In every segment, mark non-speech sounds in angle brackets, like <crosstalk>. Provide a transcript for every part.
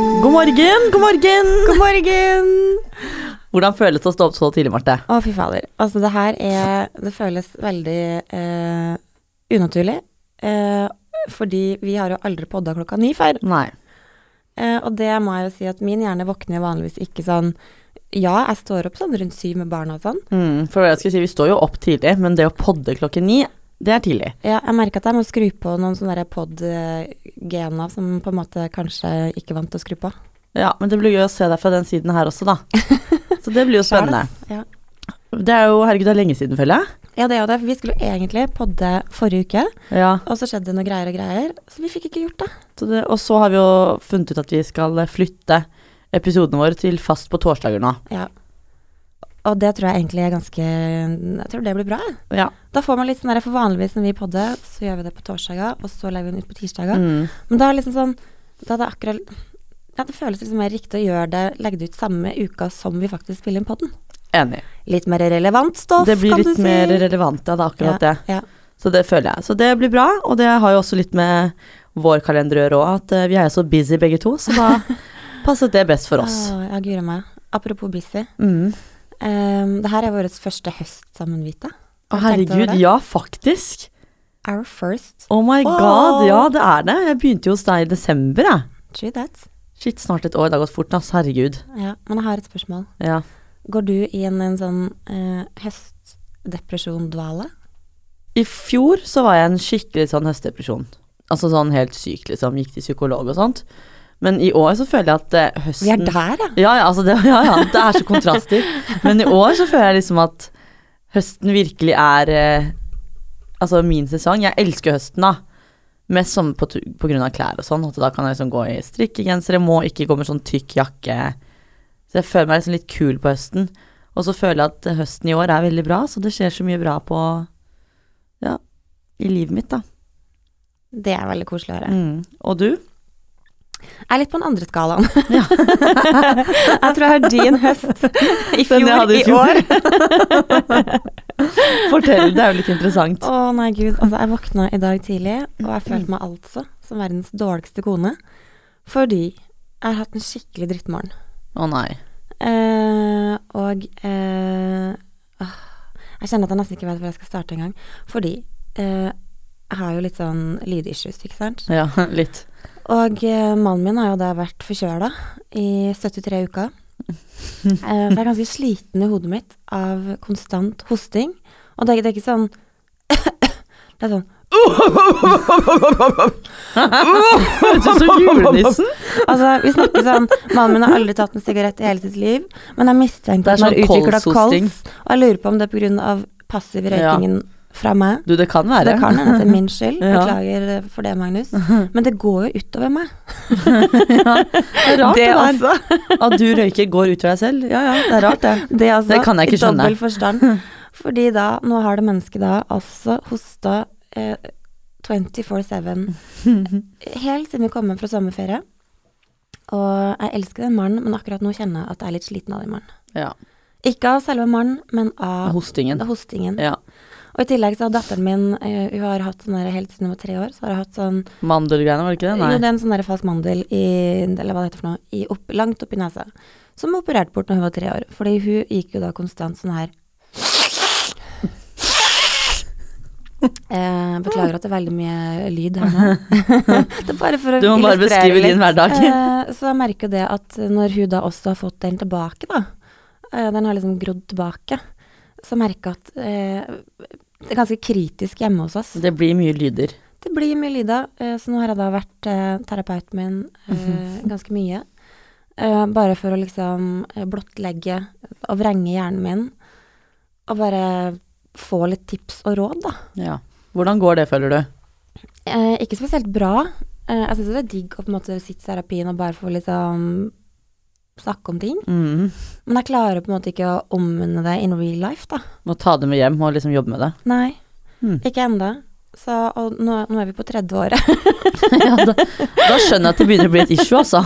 morgen, god morgen! God morgen! Hvordan føles det å stå opp så tidlig, Marte? Å, fy fader. Altså, det her er Det føles veldig eh, unaturlig. Eh, fordi vi har jo aldri podda klokka ni før. Nei. Eh, og det må jeg jo si at min hjerne våkner vanligvis ikke sånn Ja, jeg står opp sånn rundt syv med barna og sånn. Mm, for jeg skal si, vi står jo opp tidlig, men det å podde klokken ni, det er tidlig. Ja, jeg merker at jeg må skru på noen sånne pod-gener som på en måte kanskje ikke vant til å skru på. Ja, men det blir gøy å se deg fra den siden her også, <laughs> da. Så det blir jo spennende. Ja. Det er jo, herregud, det er lenge siden, føler jeg. Ja, det er jo det. for Vi skulle jo egentlig podde forrige uke, Ja. og så skjedde det noen greier og greier, så vi fikk ikke gjort det. Så det, og så har vi jo funnet ut at vi skal flytte episoden vår til fast på torsdager nå. Ja. Og det tror jeg egentlig er ganske Jeg tror det blir bra. jeg. Ja. Da får man litt sånn der, For vanligvis når vi podder, så gjør vi det på torsdager, og så legger vi den ut på tirsdager. Mm. Men da er det liksom sånn Da er det akkurat ja, Det føles liksom mer riktig å gjøre det, legge det ut samme uka som vi faktisk spiller inn podden. Enig. Litt mer relevant stoff, Det blir kan du litt si. mer relevant, ja, det er akkurat det. Ja. Så det føler jeg. Så det blir bra, og det har jo også litt med vår kalender å gjøre òg, at eh, vi er jo så busy begge to, så da <laughs> passet det best for oss. Å, ja, guri meg. Apropos busy. Mm. Um, det her er vår første høst sammen, Vita. Å, Har du tenkt over herregud, det? ja, faktisk. Our first. Oh my Åh. god, ja, det er det. Jeg begynte jo hos deg i desember, jeg. True that. Shit, snart et år. Det har gått fort, ass. Herregud. Ja, men jeg har et spørsmål. Ja. Går du i en, en sånn eh, høstdepresjon-dvale? I fjor så var jeg en skikkelig sånn høstdepresjon. Altså sånn helt syk, liksom. Gikk til psykolog og sånt. Men i år så føler jeg at eh, høsten Vi er der, ja. Ja, ja, altså det, <laughs> ja, ja, det er så kontraster. Men i år så føler jeg liksom at høsten virkelig er eh, Altså min sesong. Jeg elsker høsten, da. Mest som på, tu- på grunn av klær og sånn. At da kan jeg liksom gå i strikkegensere, må ikke gå med sånn tykk jakke. Så jeg føler meg liksom litt kul på høsten. Og så føler jeg at høsten i år er veldig bra, så det skjer så mye bra på Ja, i livet mitt, da. Det er veldig koselig å høre. Mm. Og du? Jeg er litt på den andre skalaen. <laughs> jeg tror jeg har din høst Den jeg i fjor, hadde i i fjor. år. Fortell, det er jo litt interessant. Å nei, gud. Altså, jeg våkna i dag tidlig, og jeg følte meg altså som verdens dårligste kone. Fordi jeg har hatt en skikkelig drittmorgen. Å nei. Eh, og eh, åh, Jeg kjenner at jeg nesten ikke vet hvor jeg skal starte engang. Fordi eh, jeg har jo litt sånn lydissues, ikke sant. Ja, litt. Og eh, mannen min har jo da vært forkjøla i 73 <laughs> uker. Eh, Så jeg er ganske sliten i hodet mitt av konstant hosting. Og det er, det er ikke sånn <laughs> Det er sånn Du er så julenissen. Altså, vi snakker sånn Mannen min har aldri tatt en sigarett i hele sitt liv, men jeg Det mistenker er at han har sånn utvikla kolshosting. kols. Og jeg lurer på om det er pga. passiv røykingen fra meg. Du, det kan være. Det <laughs> kan hende at det er min skyld. Ja. Beklager eh, for det, <laughs> Magnus. Men det går jo utover meg. Det er rart det, det altså der. At du røyker går utover deg selv. Ja, ja, det er rart det. Det, altså, Det kan jeg ikke i dobbel skjønne. <laughs> Forstand, fordi da, nå har det mennesket da altså hosta eh, 24-7 <laughs> helt siden vi kom hjem fra sommerferie. Og jeg elsker den mannen, men akkurat nå kjenner jeg at jeg er litt sliten av den mannen. Ja, Ikke av selve mannen, men av Hostingen. hostingen. Ja. Og i tillegg så har datteren min, eh, hun har hatt sånn der helt siden hun var tre år, så har hun hatt sånn Mandelgreiene, var det ikke det? Jo, det Eh, Nei. er en sånn der falsk mandel i Eller hva det heter for noe. I opp, langt oppi nesa. Som hun opererte bort når hun var tre år. Fordi hun gikk jo da konstant sånn her eh, Beklager at det er veldig mye lyd her nå. <laughs> det er bare for å Du må bare illustrere beskrive litt. din hverdag. Eh, så jeg merker jo det at når hun da også har fått den tilbake, da eh, Den har liksom grodd tilbake. Så merker jeg at eh, det er ganske kritisk hjemme hos oss. Det blir mye lyder. Det blir mye lyd av, eh, så nå har jeg da vært eh, terapeuten min eh, ganske mye. Eh, Bare for å liksom eh, blottlegge og vrenge hjernen min, og bare få litt tips og råd, da. Ja. Hvordan går det, føler du? Eh, Ikke spesielt bra. Eh, Jeg syns det er digg å på en måte sitte i terapien og bare få liksom snakke om ting, Mm. men jeg klarer på en måte ikke å omvende det in real life, da. Må ta det med hjem og liksom jobbe med det. Nei, Mm. ikke enda. Så, og nå, nå er vi på tredje året. <laughs> Ja, da, da skjønner jeg at det begynner å bli et issue, altså.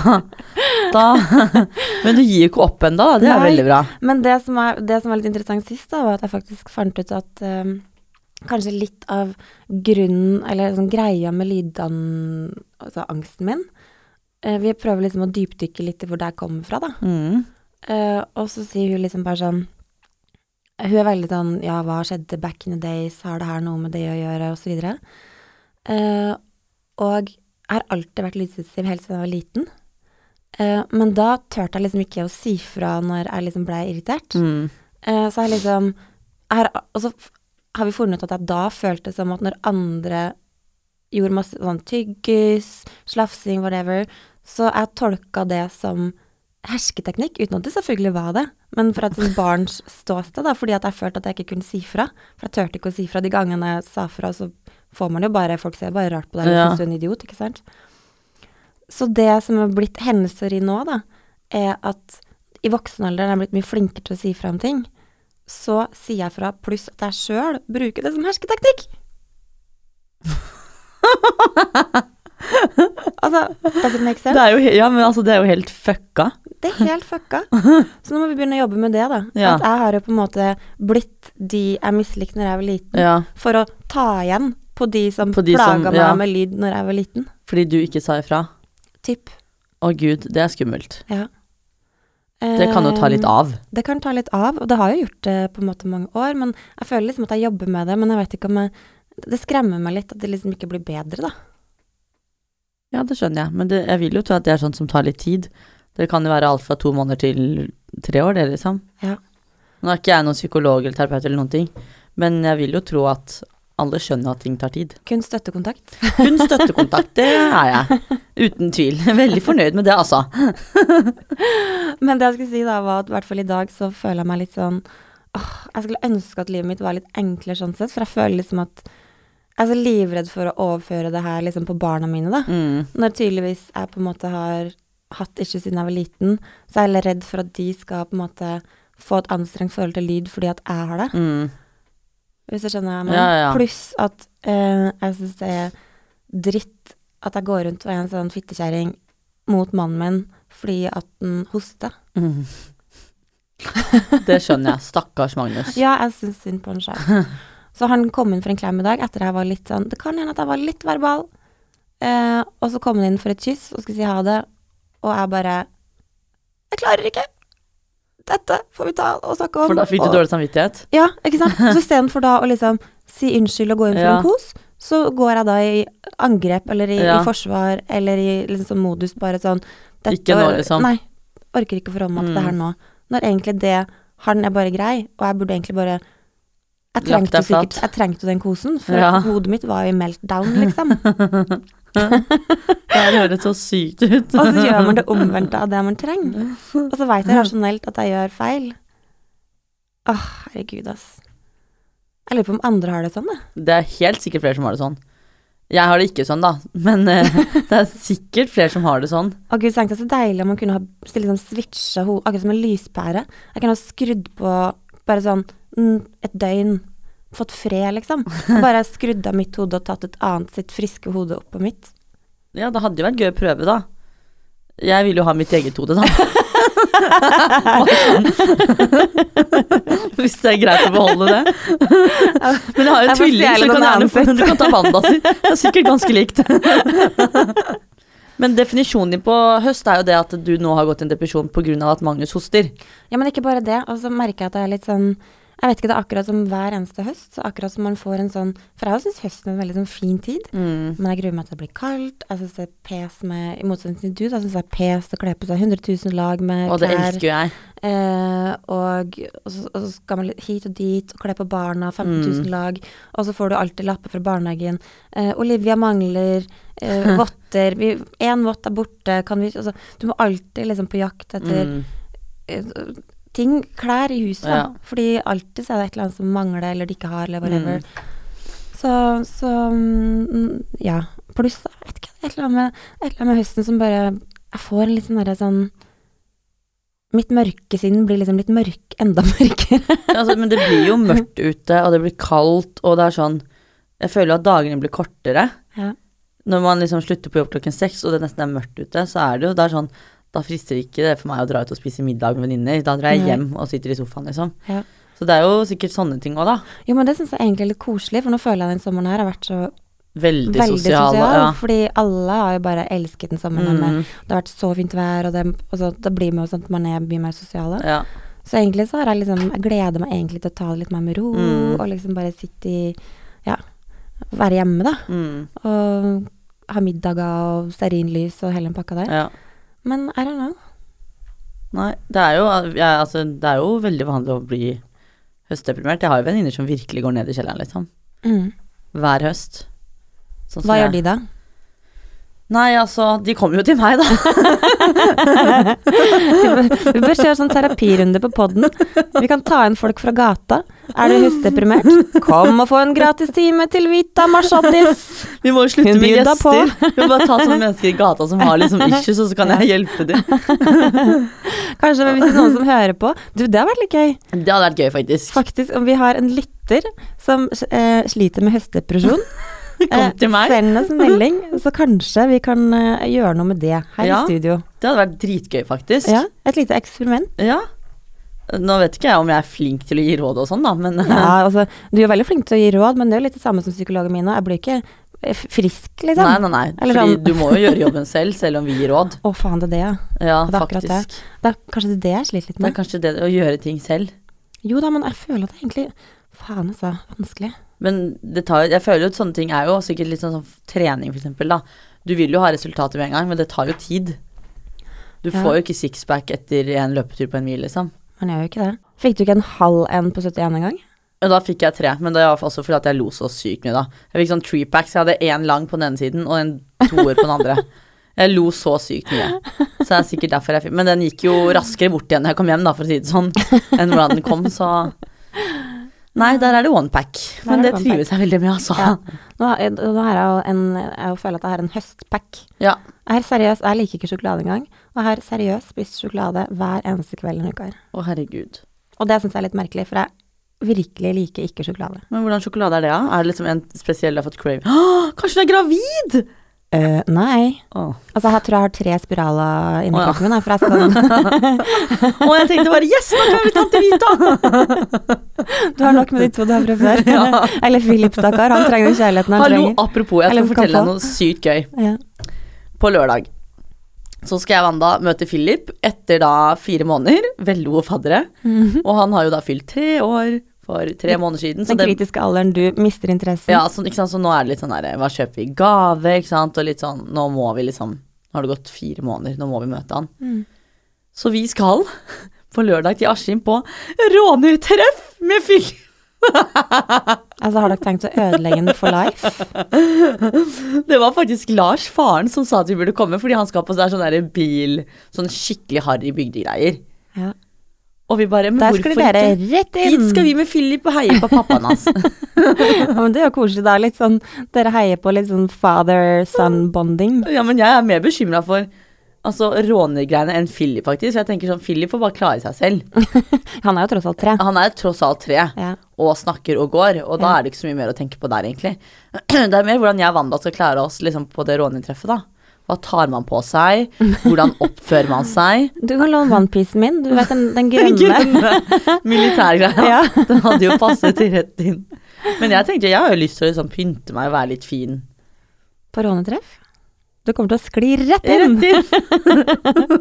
Da. <laughs> Men du gir jo ikke opp ennå, da. Det er Nei. veldig bra. Men det som, er, det som var litt interessant sist, da, var at jeg faktisk fant ut at eh, kanskje litt av grunnen, eller sånn greia med lydan, altså angsten min, eh, vi prøver liksom å dypdykke litt i hvor det her kommer fra, da. Mm. Eh, og så sier hun liksom bare sånn Hun er veldig sånn Ja, hva skjedde back in the days? Har det her noe med det å gjøre? Og så videre. Eh, og jeg har alltid vært lydsensitiv helt siden jeg var liten. Eh, men da turte jeg liksom ikke å si fra når jeg liksom ble irritert. Mm. Eh, så jeg liksom jeg har, Og så f- har vi funnet ut at jeg da følte som at når andre gjorde masse sånn tyggis, slafsing, whatever, så jeg tolka det som hersketeknikk, uten at det selvfølgelig var det, men fra et sånt barns ståsted, da, fordi at jeg følte at jeg ikke kunne si fra. For jeg turte ikke å si fra de gangene jeg sa fra, så får man jo bare Folk ser bare rart på deg og Ja. syns du er en idiot, ikke sant? Så det som er blitt hennes teori nå, da, er at i voksen alder er jeg blitt mye flinkere til å si fra om ting. Så sier jeg fra, pluss at jeg sjøl bruker det som hersketeknikk. <laughs> altså, does it make sense? Det er jo, he- ja, men altså, det er jo helt fucka. Det er helt fucka. Så nå må vi begynne å jobbe med det, da. Ja. At jeg har jo på en måte blitt de jeg mislikte når jeg var liten, Ja. for å ta igjen på de som På de plaga som- meg ja. med lyd når jeg var liten. Fordi du ikke sa ifra. Typ. Å gud, det er skummelt. Ja. Det kan jo ta litt Eh. av. Det kan ta litt av, og det har jo gjort det på en måte mange år, men jeg føler liksom at jeg jobber med det, men jeg vet ikke om jeg Det skremmer meg litt at det liksom ikke blir bedre, da. Ja, det skjønner jeg, men det, jeg vil jo tro at det er sånn som tar litt tid. Det kan jo være alt fra to måneder til tre år, det, liksom. Ja. Nå er ikke jeg noen psykolog eller terapeut eller noen ting, men jeg vil jo tro at alle skjønner at ting tar tid. Kun støttekontakt. <laughs> Kun støttekontakt, det er jeg. Uten tvil. Veldig fornøyd med det, altså. Men det jeg skulle si da, var at i hvert fall i dag så føler jeg meg litt sånn åh, Jeg skulle ønske at livet mitt var litt enklere sånn sett, for jeg føler liksom at Jeg er så livredd for å overføre det her liksom på barna mine, da. Mm. Når tydeligvis jeg på en måte har hatt issues siden jeg var liten, så er jeg litt redd for at de skal på en måte få et anstrengt forhold til lyd fordi at jeg har det. Mm. Hvis du skjønner hva jeg mener. Ja, ja. Pluss at eh, jeg syns det er dritt at jeg går rundt og er en sånn fittekjerring mot mannen min fordi at han hoster. Mm. Det skjønner jeg. Stakkars Magnus. Ja, jeg syns synd på han sjøl. <laughs> Så han kom inn for en klem i dag etter jeg var litt sånn Det kan hende at jeg var litt verbal. Eh, og så kom han inn for et kyss og skulle si ha det, og jeg bare Jeg klarer ikke! Dette får vi ta og snakke om. For da fikk du og- dårlig samvittighet? Ja, <laughs> ikke sant? Så istedenfor da å liksom si unnskyld og gå inn for Ja. en kos, så går jeg da i angrep eller i, Ja. i forsvar eller i liksom sånn modus bare sånn dette Ikke nå, or- liksom. Mm. Nei. Orker ikke å forholde meg til det her nå. Når egentlig det Han er bare grei, og jeg burde egentlig bare Jeg Lagt trengte deg jo sikkert flat. Jeg trengte jo den kosen, for Ja. hodet mitt var jo i meltdown, <laughs> liksom. Det høres så sykt ut. Og så gjør man det omvendte av det man trenger. Og så veit jeg rasjonelt at jeg gjør feil. Åh, herregud, ass. Jeg lurer på om andre har det sånn, jeg. Det er helt sikkert flere som har det sånn. Jeg har det ikke sånn, da, men eh, <laughs> det er sikkert flere som har det sånn. Og gud, tenkte jeg så deilig om man kunne ha så liksom switcha hodet, akkurat som en lyspære. Jeg kunne ha skrudd på bare sånn mm, et døgn, fått fred, liksom. Og Bare skrudd av mitt hode og tatt et annet sitt friske hode opp på <laughs> mitt. Ja, det hadde jo vært gøy å prøve, da. Jeg vil jo ha mitt eget <laughs> hode, da. Bare sånn. Hvis det er greit å beholde det. Men jeg har jo Jeg en får tvilling, stjele så kan noen jeg gjerne annen få Du kan ta panda si. Det er sikkert ganske likt. Men definisjonen din på høst er jo det at du nå har gått i en depresjon pga. at Magnus hoster. Ja, men ikke bare det. Og så merker jeg at jeg er litt sånn Jeg vet ikke, det er akkurat som hver eneste høst. Så akkurat som man får en sånn For jeg syns høsten er en veldig sånn fin tid. Mm. Men jeg gruer meg til det blir kaldt. Jeg syns det er pes med I motsetning til du, da syns jeg det er pes å kle på seg 100 000 lag med Og det elsker jo jeg. Eh, og, og, så, og så skal man litt hit og dit og kle på barna, 15 000 lag. Og så får du alltid lapper fra barnehagen. Eh, Olivia mangler eh, votter. Én vott er borte. Kan vi, altså, du må alltid liksom på jakt etter Mm. eh, ting, klær i huset. da. Ja. Fordi alltid så er det et eller annet som mangler, eller de ikke har, eller whatever. Mm. Så, så mm, ja. Pluss da, jeg vet ikke, et eller, annet med, et eller annet med høsten som bare Jeg får en litt sånn derre sånn Mitt mørke sinn blir liksom litt mørk, enda <laughs> mørkere. Ja, altså, men det blir jo mørkt ute, og det blir kaldt, og det er sånn Jeg føler at dagene blir kortere. Ja. Når man liksom slutter på jobb klokken seks, og det nesten er mørkt ute, så er det jo det er sånn Da frister ikke det for meg å dra ut og spise middag med venninner. Da drar jeg Nei. hjem og sitter i sofaen, liksom. Ja. Så det er jo sikkert sånne ting òg, da. Jo, men det syns jeg egentlig er litt koselig, for nå føler jeg den sommeren her har vært så Veldig, Veldig sosial. sosial, Ja. fordi alle har jo bare elsket den sammen. Mm, hjemme. Det har vært så fint vær, og det, og så, da blir man jo sånn at man er mye mer sosiale. ja. Så egentlig så har jeg liksom Jeg gleder meg egentlig til å ta det litt mer med ro, Mm. og liksom bare sitte i Ja, være hjemme, da. Mm, Og ha middager og stearinlys og hele den pakka der. ja. Men I don't know. Nei, det er, jo, jeg, altså, det er jo veldig vanlig å bli høstdeprimert. Jeg har jo venninner som virkelig går ned i kjelleren, liksom. Mm. Hver høst. Sånn som Hva jeg. gjør de da? <laughs> Nei, altså, de kommer jo til meg, <laughs> da. Vi bør kjøre sånn terapirunde på podden. Vi kan ta inn folk fra gata. Er du høstdeprimert? Kom og få en gratis time til Vita Marsadis. Vi må jo slutte Hun med byr da på. gjester. Vi må bare ta sånne mennesker i gata som har liksom issues, og så kan jeg hjelpe dem. Kanskje hvis det er noen som hører på. Du, det har vært litt gøy. Det hadde vært gøy, faktisk. Faktisk, om vi har en lytter som eh, sliter med høstdepresjon. <laughs> Kom til meg. Send oss en <laughs> melding, så kanskje vi kan eh, gjøre noe med det her Ja. i studio. Det hadde vært dritgøy, faktisk. Ja, et lite <laughs> eksperiment. Ja. Nå vet ikke jeg om jeg er flink til å gi råd og sånn, da, men Ja, altså, du er veldig flink til å gi råd, men det er jo litt det samme som psykologen min. og Jeg blir ikke eh, f- frisk, <laughs> Nei, liksom. nei, nei. Eller Fordi sånn. du må jo gjøre jobben selv, selv om vi gir <laughs> råd. Å, faen, det er det, ja. Ja, Det er akkurat det. faktisk. Det er kanskje det jeg sliter litt Det er med. kanskje det å gjøre ting selv. Jo da, men jeg føler at det er egentlig Faen, altså. Vanskelig. Men det tar, jeg føler jo at sånne ting er jo sikkert litt sånn som trening, for eksempel, da. Du vil jo ha resultater med en gang, men det tar jo tid. Du Ja. får jo ikke sixpack etter en løpetur på en mil, liksom. Man gjør jo ikke det. Fikk du ikke en halv en på 71 engang? Og da fikk jeg tre, men det var også fordi at jeg lo så sykt mye da. Jeg fikk sånn treepack, så jeg hadde én lang på den ene siden og en toer på den andre. <laughs> Jeg lo så sykt mye. Så det er sikkert derfor jeg fikk Men den gikk jo raskere bort igjen når jeg kom hjem, da, for å si det sånn, enn hvordan den kom, så Nei, der er det one pack. Der Men er det det one trives jeg veldig med, altså. Ja. <laughs> Nå, har jeg- nå har jeg jo en Jeg føler at jeg har en høstpack. Ja. Jeg, har seriøst, jeg liker ikke sjokolade engang, og jeg har seriøst spist sjokolade hver eneste kveld en uke her. Å, herregud. Og det syns jeg er litt merkelig, for jeg virkelig liker ikke sjokolade. Men hvordan sjokolade er det, da? Er det liksom en spesiell du har fått crave Åh, <gasps> Kanskje du er gravid?! Eh, nei. Åh, Altså, jeg tror jeg har tre spiraler inni Å, ja. kroppen min, jeg, for jeg skal <laughs> <laughs> Åh, jeg tenkte bare yes, nå kan jeg bli tante Vita! Du har nok med de to du har fra før. <laughs> Ja. <laughs> Eller Philip, stakkar. Han trenger den kjærligheten han <laughs> Hallo, trenger. apropos, jeg Eller skal kan fortelle få. deg noe sykt gøy. Ja. På lørdag så skal jeg og Wanda møte Philip etter da fire måneder. Veldig gode faddere. Og han har jo da fylt tre år for tre måneder siden. <laughs> Så Den det, kritiske alderen du mister interessen. ja, så, ikke sant? så nå er det litt sånn der Hva kjøper vi i gave? Ikke sant? Og litt sånn Nå må vi liksom Nå har det gått fire måneder, nå må vi møte han. Mm. Så vi skal <laughs> på lørdag til Askim på rånertreff med Philip. Altså, har dere tenkt å ødelegge den for <laughs> life? Det var faktisk Lars, faren, som sa at vi burde komme, fordi han skal på seg sånn der bil Sånn skikkelig harry bygdegreier. Ja. Og vi bare Men Der hvorfor skulle dere ikke? rett inn. Dit skal vi med Philip og heie på pappaen hans. <laughs> Ja, men det er jo koselig, da. Litt sånn, dere heier på litt sånn father-son-bonding. ja, men jeg er mer bekymra for altså, rånergreiene enn Philip, faktisk. Jeg tenker sånn, Philip får bare klare seg selv. Han er jo tross alt tre. Han er tross alt tre, Ja. og snakker og går, og da er det ikke så mye mer å tenke på der, egentlig. <clears throat> Det er mer hvordan jeg og Wanda skal klare oss liksom, på det rånertreffet, da. Hva tar man på <laughs> seg? Hvordan oppfører man seg? Du kan låne onepiecen min. Du vet den, den grønne. Grønne <laughs> militærgreia. Ja. <laughs> Den hadde jo passet til rett inn. Men jeg tenkte, jeg har jo lyst til å liksom, pynte meg og være litt fin. På rånetreff. Du kommer til å skli rett inn. Rett <laughs> inn.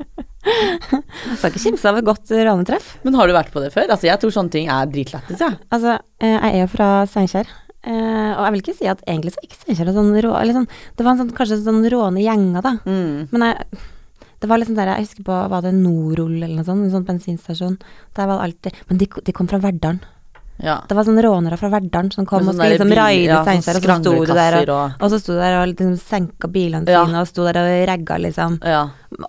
Du skal ikke kimse av et godt rånetreff. Men har du vært på det før? Altså, jeg tror sånne ting er dritlættis, jeg. Altså, eh, jeg er jo fra Steinkjer. eh, Og jeg vil ikke si at egentlig så er ikke Steinkjer en sånn rå... Eller sånn, det var en sånn, kanskje en sånn råne gjenger, da. Mm. Men jeg, det var liksom der jeg husker på, var det Norol eller noe sånt, en sånn bensinstasjon. Der var det alltid, men de, de kom fra Verdalen. Ja. Det var sånne rånere fra Verdalen som kom Med og sånne skulle liksom der bil- raide ja, sånn Steinkjer, og så sto de der skranglekasser og, og- og så sto de der og liksom senka bilene Ja. sine og sto der og ragga, liksom. Ja.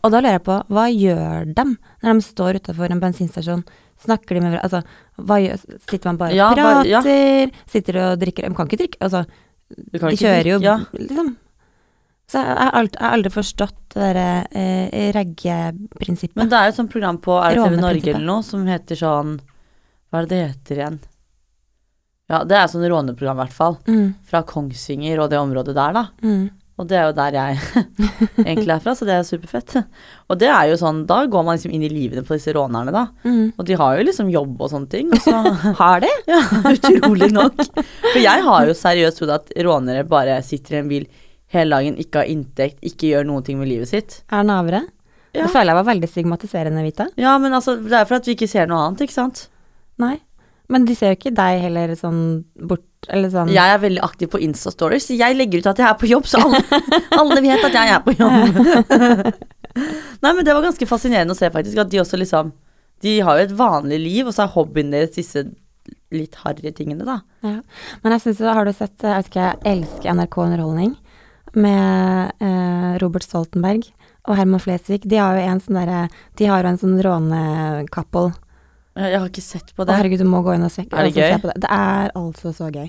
Og da lurer jeg på, hva gjør dem når de står utafor en bensinstasjon? Snakker de med hver- Altså, hva gjør Sitter man bare og Ja, hva- prater? ja. Sitter og drikker De kan ikke drikke, altså. Du kan De ikke kjører jo, drikke, ja. liksom. Så jeg har aldri, jeg har aldri forstått det derre eh, raggeprinsippet. Men det er jo et sånt program på Er det TV Norge Råneprinsippet. eller noe som heter sånn Hva er det det heter igjen? Ja, det er sånn råneprogram, i hvert fall. Mm, Fra Kongsvinger og det området der, da. mm. Og det er jo der jeg <laughs> egentlig er fra, så det er superfett. Og det er jo sånn, da går man liksom inn i livene på disse rånerne, da. Mm. Og de har jo liksom jobb og sånne ting. Og så, Har det? <laughs> ja, utrolig nok. For jeg har jo seriøst trodd at rånere bare sitter i en bil hele dagen, ikke har inntekt, ikke gjør noen ting med livet sitt. Er navere? Ja. Det føler jeg var veldig stigmatiserende, Vita. Ja, men altså, det er for at vi ikke ser noe annet, ikke sant? Nei. Men de ser jo ikke deg heller sånn bort Eller sånn Jeg er veldig aktiv på Insta-stories. Jeg legger ut at jeg er på jobb, så <laughs> alle, alle vet at jeg er på jobb. <laughs> Nei, men det var ganske fascinerende å se faktisk at de også liksom De har jo et vanlig liv, og så er hobbyen deres disse litt harry tingene, da. Ja. Men jeg syns jo, har du sett Jeg vet ikke, jeg elsker NRK Underholdning med eh, Robert Stoltenberg og Herman Flesvig. De har jo en sånn derre De har jo en sånn rånekappel. Jeg har ikke sett på Å, det. herregud, du må gå inn og se, Er det altså, se gøy? på det. Det er altså så gøy.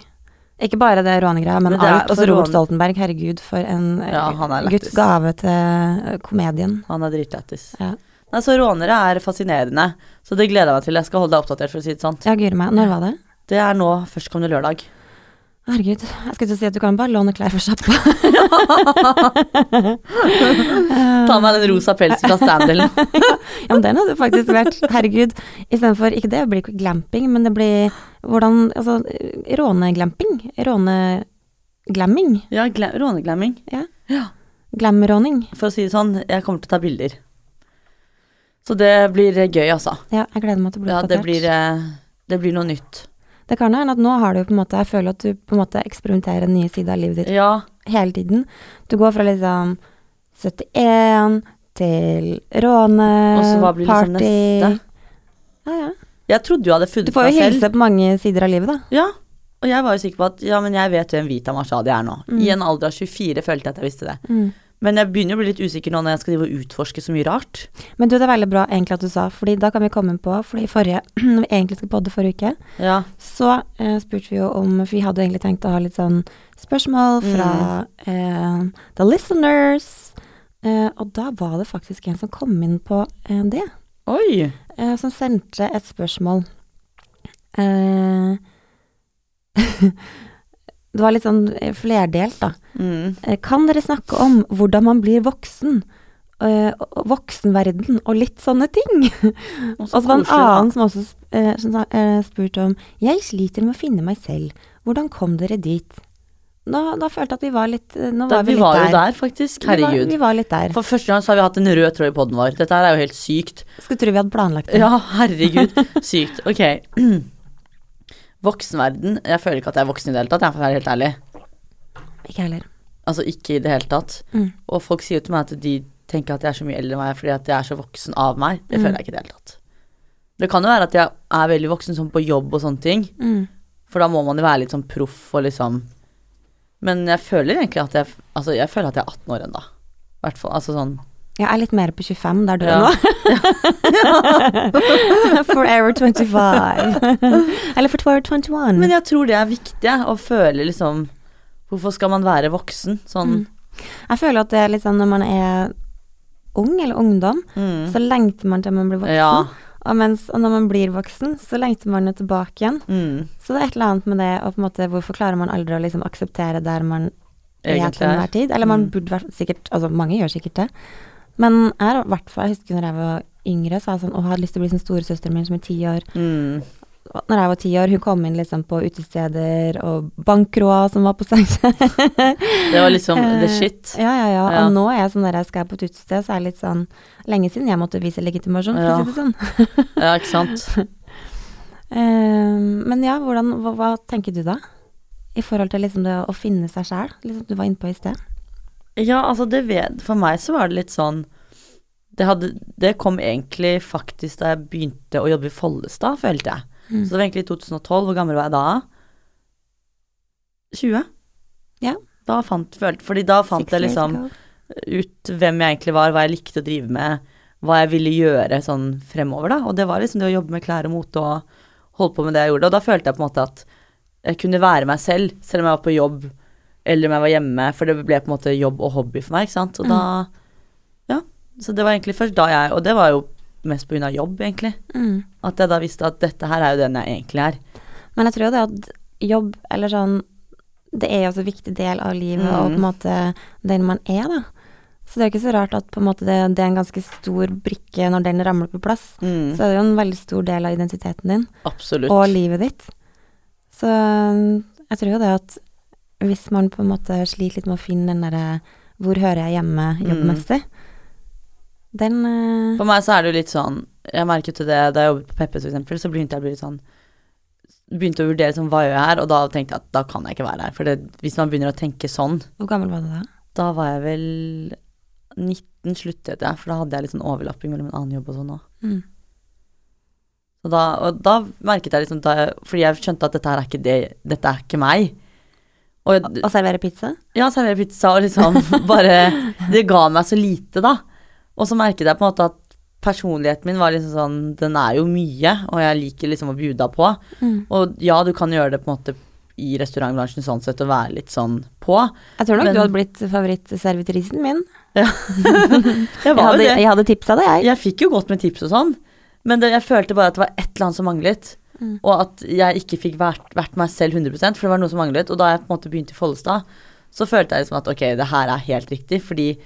Ikke bare det rånegreia, men, Men det er- alt. Og så for Robert rån- Stoltenberg, herregud, for en eh, Ja, han er Guds lættis. gave til eh, komedien. Han er dritlættis. Ja. Nei, så rånere er fascinerende, så det gleder jeg meg til. Jeg skal holde deg oppdatert, for å si det sånn. Ja, guri meg. Når var det? Det er nå førstkommende <laughs> lørdag. Herregud, jeg skulle til å si at du kan bare låne klær for sjappa. <laughs> <laughs> Ta meg den rosa pelsen fra Standelen. Ja, men den hadde faktisk vært Herregud, istedenfor Ikke det blir ikke glamping, men det blir hvordan Altså, råneglamping. Råneglamming. Ja, gla- råneglamming. Glamråning. For å si det sånn, jeg kommer til å ta bilder. Så det blir eh, gøy, altså. Ja, jeg gleder meg til å bli Ja, det oppdatert. blir, eh, det blir noe nytt. Det kan jo hende at nå har du jo på en måte Jeg føler at du på en måte eksperimenterer nye sider av livet ditt Ja, hele tiden. Du går fra liksom 71 til råne, og så hva blir liksom neste? Ja, ja. Jeg trodde jo jeg hadde Du funnet får meg jo selv. hilse på mange sider av livet, da. Ja, og jeg var jo sikker på at ja, men jeg vet hvem Vita Mashadi er nå. Mm. I en alder av 24 følte jeg at jeg visste det. Men jeg begynner å bli litt usikker nå når jeg skal drive og utforske så mye rart. Men du, det er veldig bra egentlig at du sa, fordi da kan vi komme på, fordi forrige, <clears throat> når vi egentlig skal podde forrige uke, Ja, så eh, spurte vi jo om, for vi hadde jo egentlig tenkt å ha litt sånn spørsmål fra eh, the listeners, eh, og da var det faktisk en som kom inn på eh, det, oi. eh, som sendte et spørsmål. Eh, <laughs> det var litt sånn eh, flerdelt da. Mm. Eh, Kan dere snakke om hvordan man blir voksen? eh, og- og Voksenverden og litt sånne ting. Og så var det en annen som også eh, som sa- eh, spurte om Jeg sliter med å finne meg selv. Hvordan kom dere dit? Da, da følte jeg at vi var litt eh, Nå Da, var vi, vi litt var jo der. der, faktisk. Vi var, vi Herregud. var litt der. For første gang så har vi hatt en rød tråd i poden vår. Dette her er jo helt sykt. Skulle tro vi hadde planlagt <laughs> det. Ja, herregud. Sykt. Ok. <clears throat> Voksenverden. Jeg føler ikke at jeg er voksen i det hele tatt, jeg, for å være helt ærlig. Ikke jeg heller. Altså ikke i det hele tatt. Mm. Og folk sier jo til meg at de tenker at jeg er så mye eldre enn meg fordi at jeg er så voksen av meg. Det føler jeg ikke i det hele tatt. Det kan jo være at jeg er veldig voksen sånn på jobb og sånne ting, Mm. for da må man jo være litt sånn proff og liksom Men jeg føler egentlig at jeg Altså, jeg føler at jeg er 18 år ennå. I hvert fall. Altså sånn Jeg er litt mer på 25 der du Ja. er <laughs> nå. Forever 25. Eller for Forever 21. Men jeg tror det er viktig, jeg, å føle liksom Hvorfor skal man være voksen? Sånn Mm. Jeg føler at det er litt sånn når man er ung eller ungdom, mm. så lengter man til man blir voksen. Ja. Og, mens, og når man blir voksen, så lengter man jo tilbake igjen. Mm. Så det er et eller annet med det, og på en måte hvorfor klarer man aldri å liksom akseptere der man er Egentlig. til Mm. enhver tid? Eller man burde vært sikkert Altså, mange gjør sikkert det. Men jeg har i hvert fall Jeg husker når jeg var yngre, så var jeg sånn Å, jeg hadde lyst til å bli som storesøsteren min som er ti år. Mm. Og Når jeg var ti år, hun kom inn liksom på utesteder og bankkroa som var på Steinkjer. Det var liksom the Eh, shit. <laughs> Ja, ja, ja. Ja. Og nå er jeg sånn når jeg skal på et utested, så er jeg litt sånn Lenge siden jeg måtte vise legitimasjon, for Ja. å si det sånn. Ja, ikke sant? Eh, men ja, hvordan, hva, hva tenker du da? I forhold til liksom det å finne seg sjæl, liksom du var inne på i sted. <laughs> Ja, altså det ved, for meg så var det litt sånn det, hadde, det kom egentlig faktisk da jeg begynte å jobbe i Follestad, følte jeg. Mm. Så det var egentlig i 2012. Hvor gammel var jeg da? 20? Ja. Da fant, følte, fordi da fant Six jeg years liksom ago. ut hvem jeg egentlig var, hva jeg likte å drive med, hva jeg ville gjøre sånn fremover, da. Og det var liksom det å jobbe med klær og mote og holde på med det jeg gjorde. Og da følte jeg på en måte at jeg kunne være meg selv, selv om jeg var på jobb eller om jeg var hjemme, for det ble på en måte jobb og hobby for meg, ikke sant. Og da Ja. Så det var egentlig først da jeg Og det var jo mest på grunn av jobb, egentlig. Mm. At jeg da visste at dette her er jo den jeg egentlig er. Men jeg tror jo det at jobb, eller sånn det er jo også en viktig del av livet Mhm. og på en måte den man er, da. Så det er jo ikke så rart at på en måte det, det er en ganske stor brikke når den ramler på plass. Mm, Så er det jo en veldig stor del av identiteten din absolutt. og livet ditt. Så um, jeg tror jo det at hvis man på en måte sliter litt med å finne den derre hvor hører jeg hjemme Mm. jobbmessig, den eh, For meg så er det jo litt sånn Jeg merket jo det da jeg jobbet på Peppes for eksempel, så begynte jeg å bli litt sånn Begynte å vurdere sånn hva gjør jeg her, og da tenkte jeg at da kan jeg ikke være her. For det, hvis man begynner å tenke sånn, Hvor gammel var du da? da var jeg vel 19 sluttet jeg, for da hadde jeg litt sånn overlapping mellom en annen jobb og sånn òg. Mm. Og da, og da merket jeg liksom da jeg, Fordi jeg skjønte at dette her er ikke det Dette er ikke meg. Og jeg- Å servere pizza? ja, servere pizza og liksom <laughs> bare Det ga meg så lite, da. Og så merket jeg på en måte at personligheten min var liksom sånn Den er jo mye, og jeg liker liksom å bjuda på. Mm. Og ja, du kan gjøre det på en måte i restaurantbransjen sånn sett og være litt sånn på. Jeg tror nok Men- du hadde blitt favorittservitrisen min. Jeg Jeg var jo hadde, det. jeg hadde tipsa det, jeg. Jeg fikk jo godt med tips og sånn, men det, jeg følte bare at det var et eller annet som manglet. Mm. Og at jeg ikke fikk vært, vært meg selv 100 for det var noe som manglet. Og da jeg på en måte begynte i Follestad, så følte jeg liksom at ok, det her er helt riktig. Fordi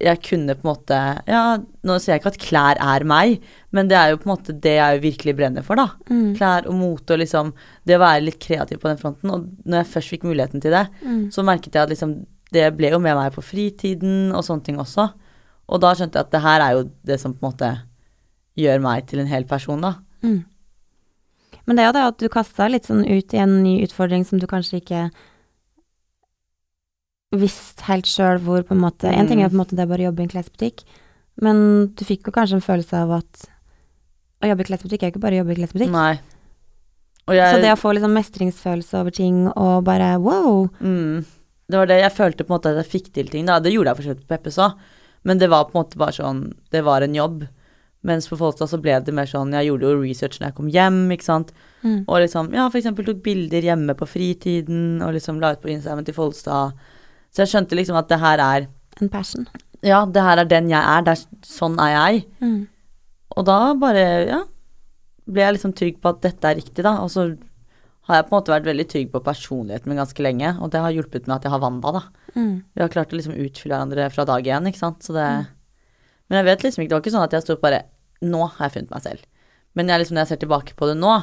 jeg kunne på en måte Ja, nå sier jeg ikke at klær er meg, men det er jo på en måte det jeg virkelig brenner for, da. Mm. Klær og mote og liksom det å være litt kreativ på den fronten. Og når jeg først fikk muligheten til det, Mm. så merket jeg at liksom det ble jo med meg på fritiden og sånne ting også. Og da skjønte jeg at det her er jo det som på en måte gjør meg til en hel person, da. Mm. Men det er jo det at du kasta litt sånn ut i en ny utfordring som du kanskje ikke visste helt sjøl hvor, på en måte. En ting er på en måte det er bare å jobbe i en klesbutikk, men du fikk jo kanskje en følelse av at å jobbe i klesbutikk er jo ikke bare å jobbe i klesbutikk. Nei. Og Så det å få liksom mestringsfølelse over ting og bare wow Mm. Det var det jeg følte på en måte at jeg fikk til ting. Da. Det gjorde jeg for så vidt på Peppes òg, men det var på en måte bare sånn Det var en jobb. Mens på Folstad så ble det mer sånn Jeg gjorde jo research når jeg kom hjem, ikke sant. Mm. Og liksom Ja, for eksempel tok bilder hjemme på fritiden, og liksom la ut på Instagram til Folstad. Så jeg skjønte liksom at det her er En passion. Ja, det her er den jeg er. Det er, sånn er jeg. Mm. Og da bare, ja Ble jeg liksom trygg på at dette er riktig, da. Og så har jeg på en måte vært veldig trygg på personligheten min ganske lenge, og det har hjulpet med at jeg har Wanda, da. Mm. Vi har klart å liksom utfylle hverandre fra dag én, ikke sant. Så det, men jeg vet liksom ikke, det var ikke sånn at jeg sto bare Nå har jeg funnet meg selv. Men jeg liksom, når jeg ser tilbake på det nå,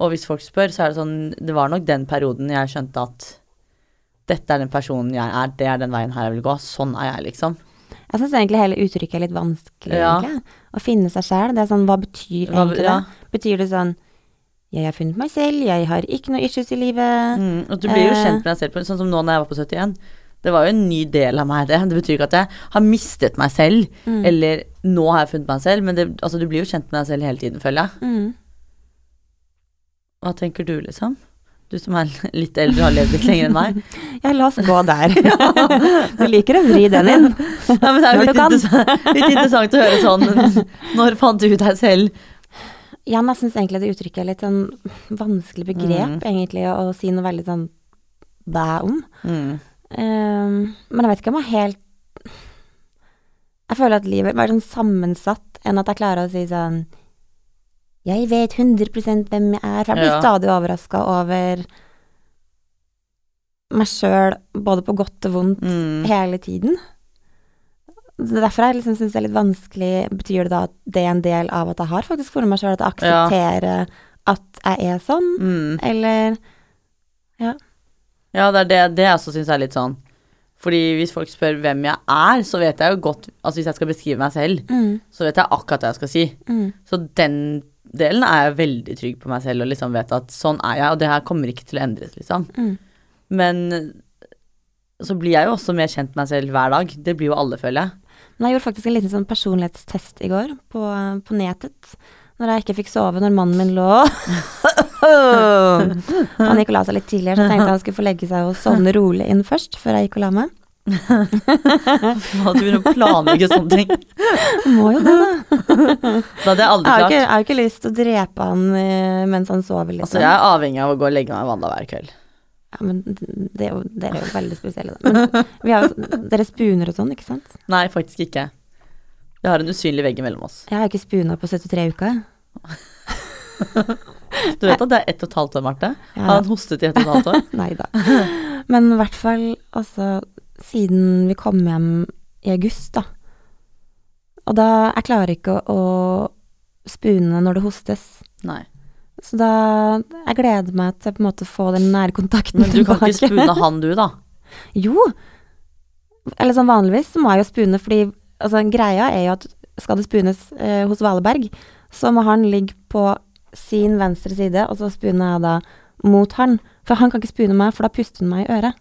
og hvis folk spør, så er det sånn Det var nok den perioden jeg skjønte at dette er den personen jeg er, det er den veien her jeg vil gå. Sånn er jeg, liksom. Jeg syns egentlig hele uttrykket er litt vanskelig, Ja. egentlig. Å finne seg sjæl. Det er sånn, hva betyr Hva- egentlig ja. det? Betyr det sånn jeg har funnet meg selv, jeg har ikke noe issues i livet. Mm, og du blir jo Eh. kjent med deg selv, på, sånn som nå når jeg var på 71. Det var jo en ny del av meg, det. Det betyr ikke at jeg har mistet meg selv, Mm. eller nå har jeg funnet meg selv, men det, altså, du blir jo kjent med deg selv hele tiden, føler jeg. Mm. Hva tenker du, liksom? Du som er <laughs> litt eldre og har levd litt lenger enn <laughs> meg. Ja, la oss gå <laughs> der. du liker å vri den inn. Ja, men det er jo Når du litt, kan. interessa- litt interessant å høre sånn <laughs> Når fant du deg selv? Igjen, jeg syns egentlig det uttrykket er litt sånn vanskelig begrep, Mm. egentlig, å, å si noe veldig sånn bæ om. Mm. Ehm, men jeg vet ikke om jeg helt Jeg føler at livet er mer sånn sammensatt enn at jeg klarer å si sånn Jeg vet 100 hvem jeg er. For jeg blir Ja. stadig overraska over meg sjøl, både på godt og vondt, Mm. hele tiden. Så Derfor jeg liksom syns det er litt vanskelig Betyr det da at det er en del av at jeg har faktisk funnet meg sjøl, at jeg Ja. aksepterer at jeg er sånn, Mm. eller Ja, det er det, det jeg også syns er litt sånn. Fordi hvis folk spør hvem jeg er, så vet jeg jo godt Altså hvis jeg skal beskrive meg selv, mm, så vet jeg akkurat hva jeg skal si. mm, Så den delen er jeg veldig trygg på meg selv og liksom vet at sånn er jeg, og det her kommer ikke til å endres, liksom. mm. Men eh, så blir jeg jo også mer kjent med meg selv hver dag. Det blir jo alle, føler jeg. Men jeg gjorde faktisk en liten sånn personlighetstest i går på, på nettet. Når jeg ikke fikk sove når mannen min lå <laughs> Han gikk og la seg litt tidligere, så tenkte jeg han skulle få legge seg og sovne rolig inn først, før jeg gikk og la meg. Faen, <laughs> At du begynner å planlegge sånne ting. Må jo det, da. Det hadde jeg Jeg aldri har jo klart. ikke, jeg har jo ikke lyst til å drepe han eh, mens han sover, Altså, liksom. jeg er avhengig av å gå og legge meg i Wanda hver kveld. Ja, men det er jo, dere er jo veldig spesielle, da. Men vi har jo dere spuner og sånn, ikke sant? Nei, faktisk ikke. Vi har en usynlig vegg mellom oss. Jeg har jo ikke spuna på 73 uker. Du vet at det er ett og et halvt år, Marte? Jeg Har har- <laughs> han hostet i ett og et halvt år? Nei da. Men i hvert fall, altså, siden vi kom hjem i august, da. Og da, jeg klarer ikke å, å spune når det hostes. Nei. Så da, jeg gleder meg til på en måte å få den nærkontakten Men du kan tilbake. ikke spune han du, da. <laughs> Jo. Eller sånn vanligvis så må jeg jo spune, fordi altså, greia er jo at skal det spunes eh, hos Valeberg, så må han ligge på sin venstre side, og så spuner jeg da mot han. For han kan ikke spune meg, for da puster han meg i øret.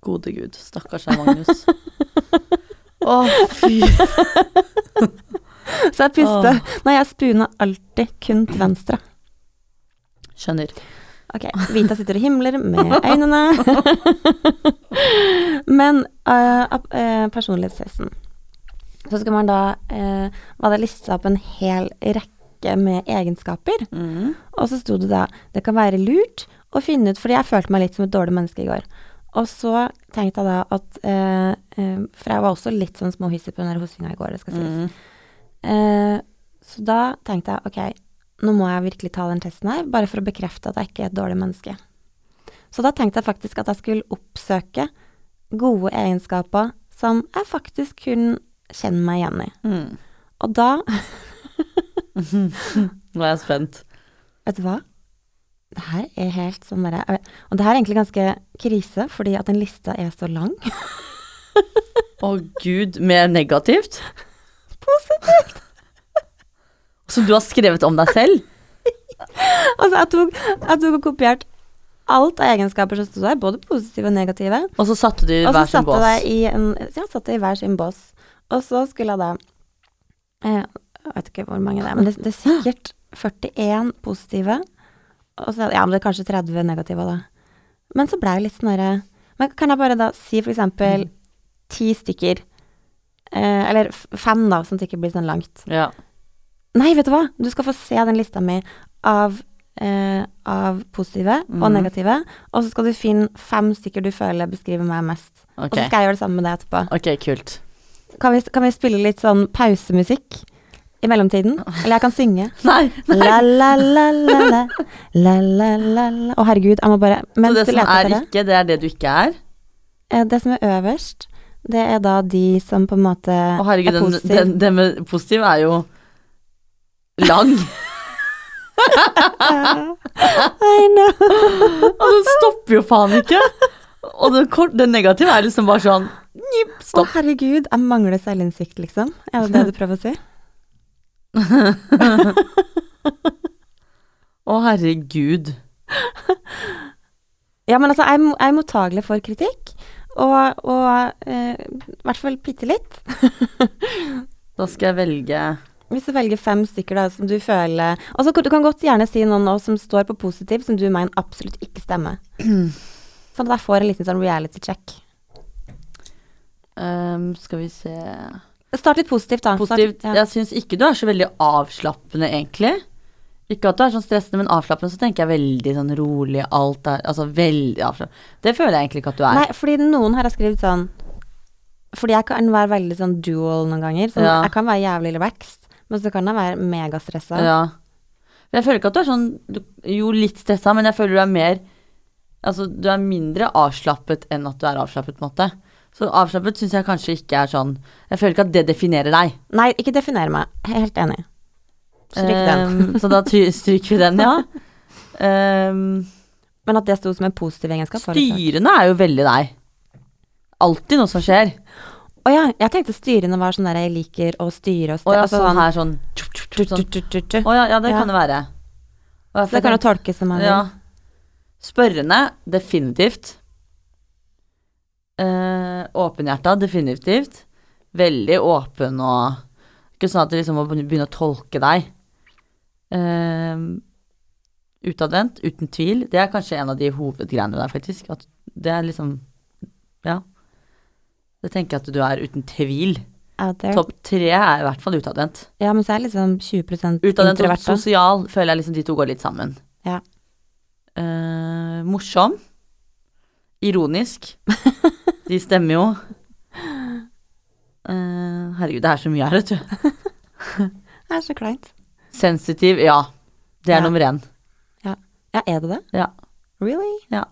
Gode gud, stakkars herr Magnus. Å, fy. <laughs> Så jeg puster Nei, jeg spuner alltid kun til venstre. Skjønner. Ok, Vita sitter og himler med øynene. <laughs> Men eh, ap- eh, personlighetstesten. Så skal man da eh, Var det lista opp en hel rekke med egenskaper? Mm. Og så sto det da Det kan være lurt å finne ut Fordi jeg følte meg litt som et dårlig menneske i går. Og så tenkte jeg da at eh, eh, For jeg var også litt sånn småhissig på den der hostinga i går, det skal sies. Mm. Eh, så da tenkte jeg ok, nå må jeg virkelig ta den testen her, bare for å bekrefte at jeg ikke er et dårlig menneske. Så da tenkte jeg faktisk at jeg skulle oppsøke gode egenskaper som jeg faktisk kun kjenner meg igjen i. Mm. Og da, <laughs> Nå er jeg spent. vet du hva? Det her er helt sånn derre Og det her er egentlig ganske krise, fordi at den lista er så lang. <laughs> Å gud, mer negativt? <laughs> Positivt! <laughs> Som du har skrevet om deg selv? Altså, jeg tok, jeg tok og kopierte alt av egenskaper som sto der, både positive og negative. Og så satte du i Og så hver sin satte bås? jeg i en, ja, satt jeg i hver sin bås. Og så skulle jeg da eh, Jeg vet ikke hvor mange det er, men det, det er sikkert 41 positive. Og så, ja, men det er kanskje 30 negative, da. Men så ble jeg litt sånn herre Men kan jeg bare da si for eksempel ti stykker? Eh, eller f- fem, da, sånn at det ikke blir sånn langt. Ja. Nei, vet du hva? Du skal få se den lista mi av, eh, av positive og Mhm. negative. Og så skal du finne fem stykker du føler beskriver meg mest. Og Ok, så skal jeg gjøre det samme med deg etterpå. Ok, kult. Kan vi, kan vi spille litt sånn pausemusikk i mellomtiden? Eller jeg kan synge. <laughs> Nei, nei. La, la, la, la, la. La, la, la, la. Å, herregud, jeg må bare Så Mens det du som leter er etter det ikke, det er det du ikke er? eh, Det som er øverst, det er da de som på en måte Å herregud, er den, positive. den, <laughs> den med positiv er jo lang. I know. Og den stopper jo faen ikke. Og den, kort, den negative er liksom bare sånn njipp, Å, stopp. herregud, jeg mangler selvinnsikt, liksom. Er det det du prøver å <laughs> si? Å herregud. Ja, men altså, jeg er mo- jeg er mottagelig for kritikk. Og, og eh, i hvert fall bitte litt. Da skal jeg velge Hvis du velger fem stykker da, som du føler Og så kan- du kan godt gjerne si noen nå som står på positiv, som du mener absolutt ikke <clears throat> stemmer. Sånn at jeg får en liten sånn reality check. Ehm, Skal vi se Start litt positivt, da. Positivt. Start, ja. Jeg syns ikke du er så veldig avslappende, egentlig. Ikke at du er sånn stressende, men avslappende så tenker jeg veldig sånn rolig, alt er Altså veldig avslappende. Det føler jeg egentlig ikke at du er. Nei, fordi noen har jeg skrevet sånn Fordi jeg kan være veldig sånn dual noen ganger. Sånn, Ja. Jeg kan være jævlig relaxed, men så kan jeg være megastressa. Ja. Men Jeg føler ikke at du er sånn du, Jo, litt stressa, men jeg føler du er mer Altså, du er mindre avslappet enn at du er avslappet, på en måte. Så avslappet syns jeg kanskje ikke er sånn Jeg føler ikke at det definerer deg. Nei, ikke definer meg. Helt enig. Stryk den. Ehm, så da ty- stryker vi den, <laughs> ja. Ehm, Men at det sto som en positiv egenskap. var litt rart. styrende er jo veldig deg. Alltid noe som skjer. Å ja, jeg tenkte styrene var sånn der jeg liker å styre Å og altså styre. ja, sånn her sånn sånn. sånn. Å ja, ja, det Ja. kan det være. Å, ja, for Så det kan jo jeg tolkes som man vil. Ja. Spørrende, definitivt. Eh, åpenhjerta, definitivt. Veldig åpen og Ikke sånn at det liksom må begynne å tolke deg. Eh, utadvendt, uten tvil. Det er kanskje en av de hovedgreiene der, faktisk. At det er liksom Ja. Det tenker jeg at du er uten tvil. Out there. Topp tre er i hvert fall utadvendt. Ja, men så er jeg liksom 20 Utadvendt og introvert. da. sosial føler jeg liksom de to går litt sammen. Ja. Eh, morsom. <laughs> Ironisk. De stemmer jo. Eh, herregud, det er så mye her, vet du. Det er så kleint. Sensitiv, ja. Det er Ja. nummer én. Ja, er det det? Ja. Really? Ja.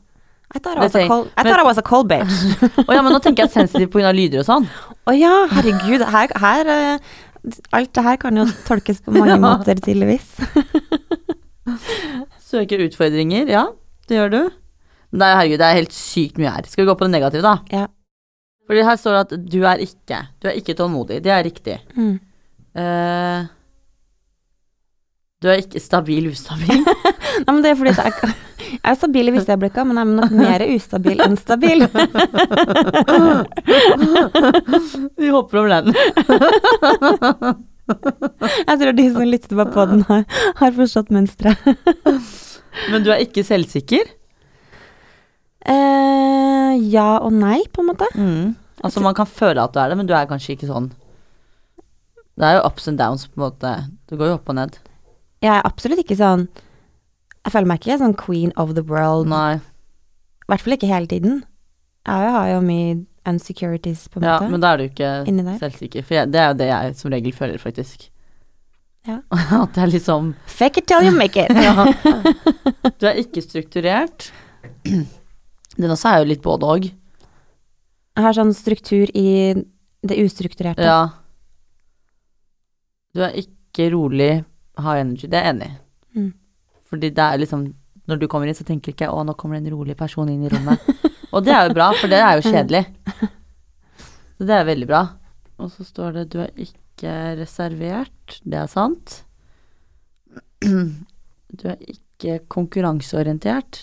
I thought I Det was, a tenk- cold, I men- thought I was a <laughs> cold bitch. Å ja, men nå tenker jeg sensitiv pga. lyder og sånn. Å ja, herregud. Her, her eh, Alt det her kan jo tolkes på <laughs> mange Ja. måter, tydeligvis. Søker utfordringer, ja. Det gjør du. Nei, herregud, det er helt sykt mye her. Skal vi gå på det negative, da? Ja. Fordi her står det at du er ikke. Du er ikke tålmodig. Det er riktig. Mm. Eh, du er ikke stabil ustabil. <laughs> Nei, men det er fordi at jeg, jeg er stabil i visse øyeblikk, men jeg er nok mer ustabil enn stabil. Vi hopper over den. Jeg tror de som lytter på podden har, har forstått mønsteret. Men du er ikke selvsikker. Eh, ja og nei, på en måte. Altså, man kan føle at du er det, men du er kanskje ikke sånn. Det er jo ups and downs, på en måte. Du går jo opp og ned. Jeg er absolutt ikke sånn Jeg føler meg ikke sånn queen of the world. Nei. I hvert fall ikke hele tiden. Jeg har jo mye unsecurities, på en Ja, måte. men da er du ikke Inni der. selvsikker. For jeg, det er jo det jeg som regel føler, faktisk. Ja. <laughs> At det er liksom Fake it till you make <laughs> it. ja. Du er ikke strukturert. <clears throat> Den også er jo litt både og. Jeg har sånn struktur i det ustrukturerte. Ja. Du er ikke rolig, high energy. Det er jeg enig i. Mm. Fordi det er liksom Når du kommer inn, så tenker du ikke 'Å, nå kommer det en rolig person inn i rommet'. og det er jo bra, for det er jo <laughs> kjedelig. Så det er veldig bra. Og så står det 'Du er ikke reservert'. Det er sant. <clears throat> Du er ikke konkurranseorientert.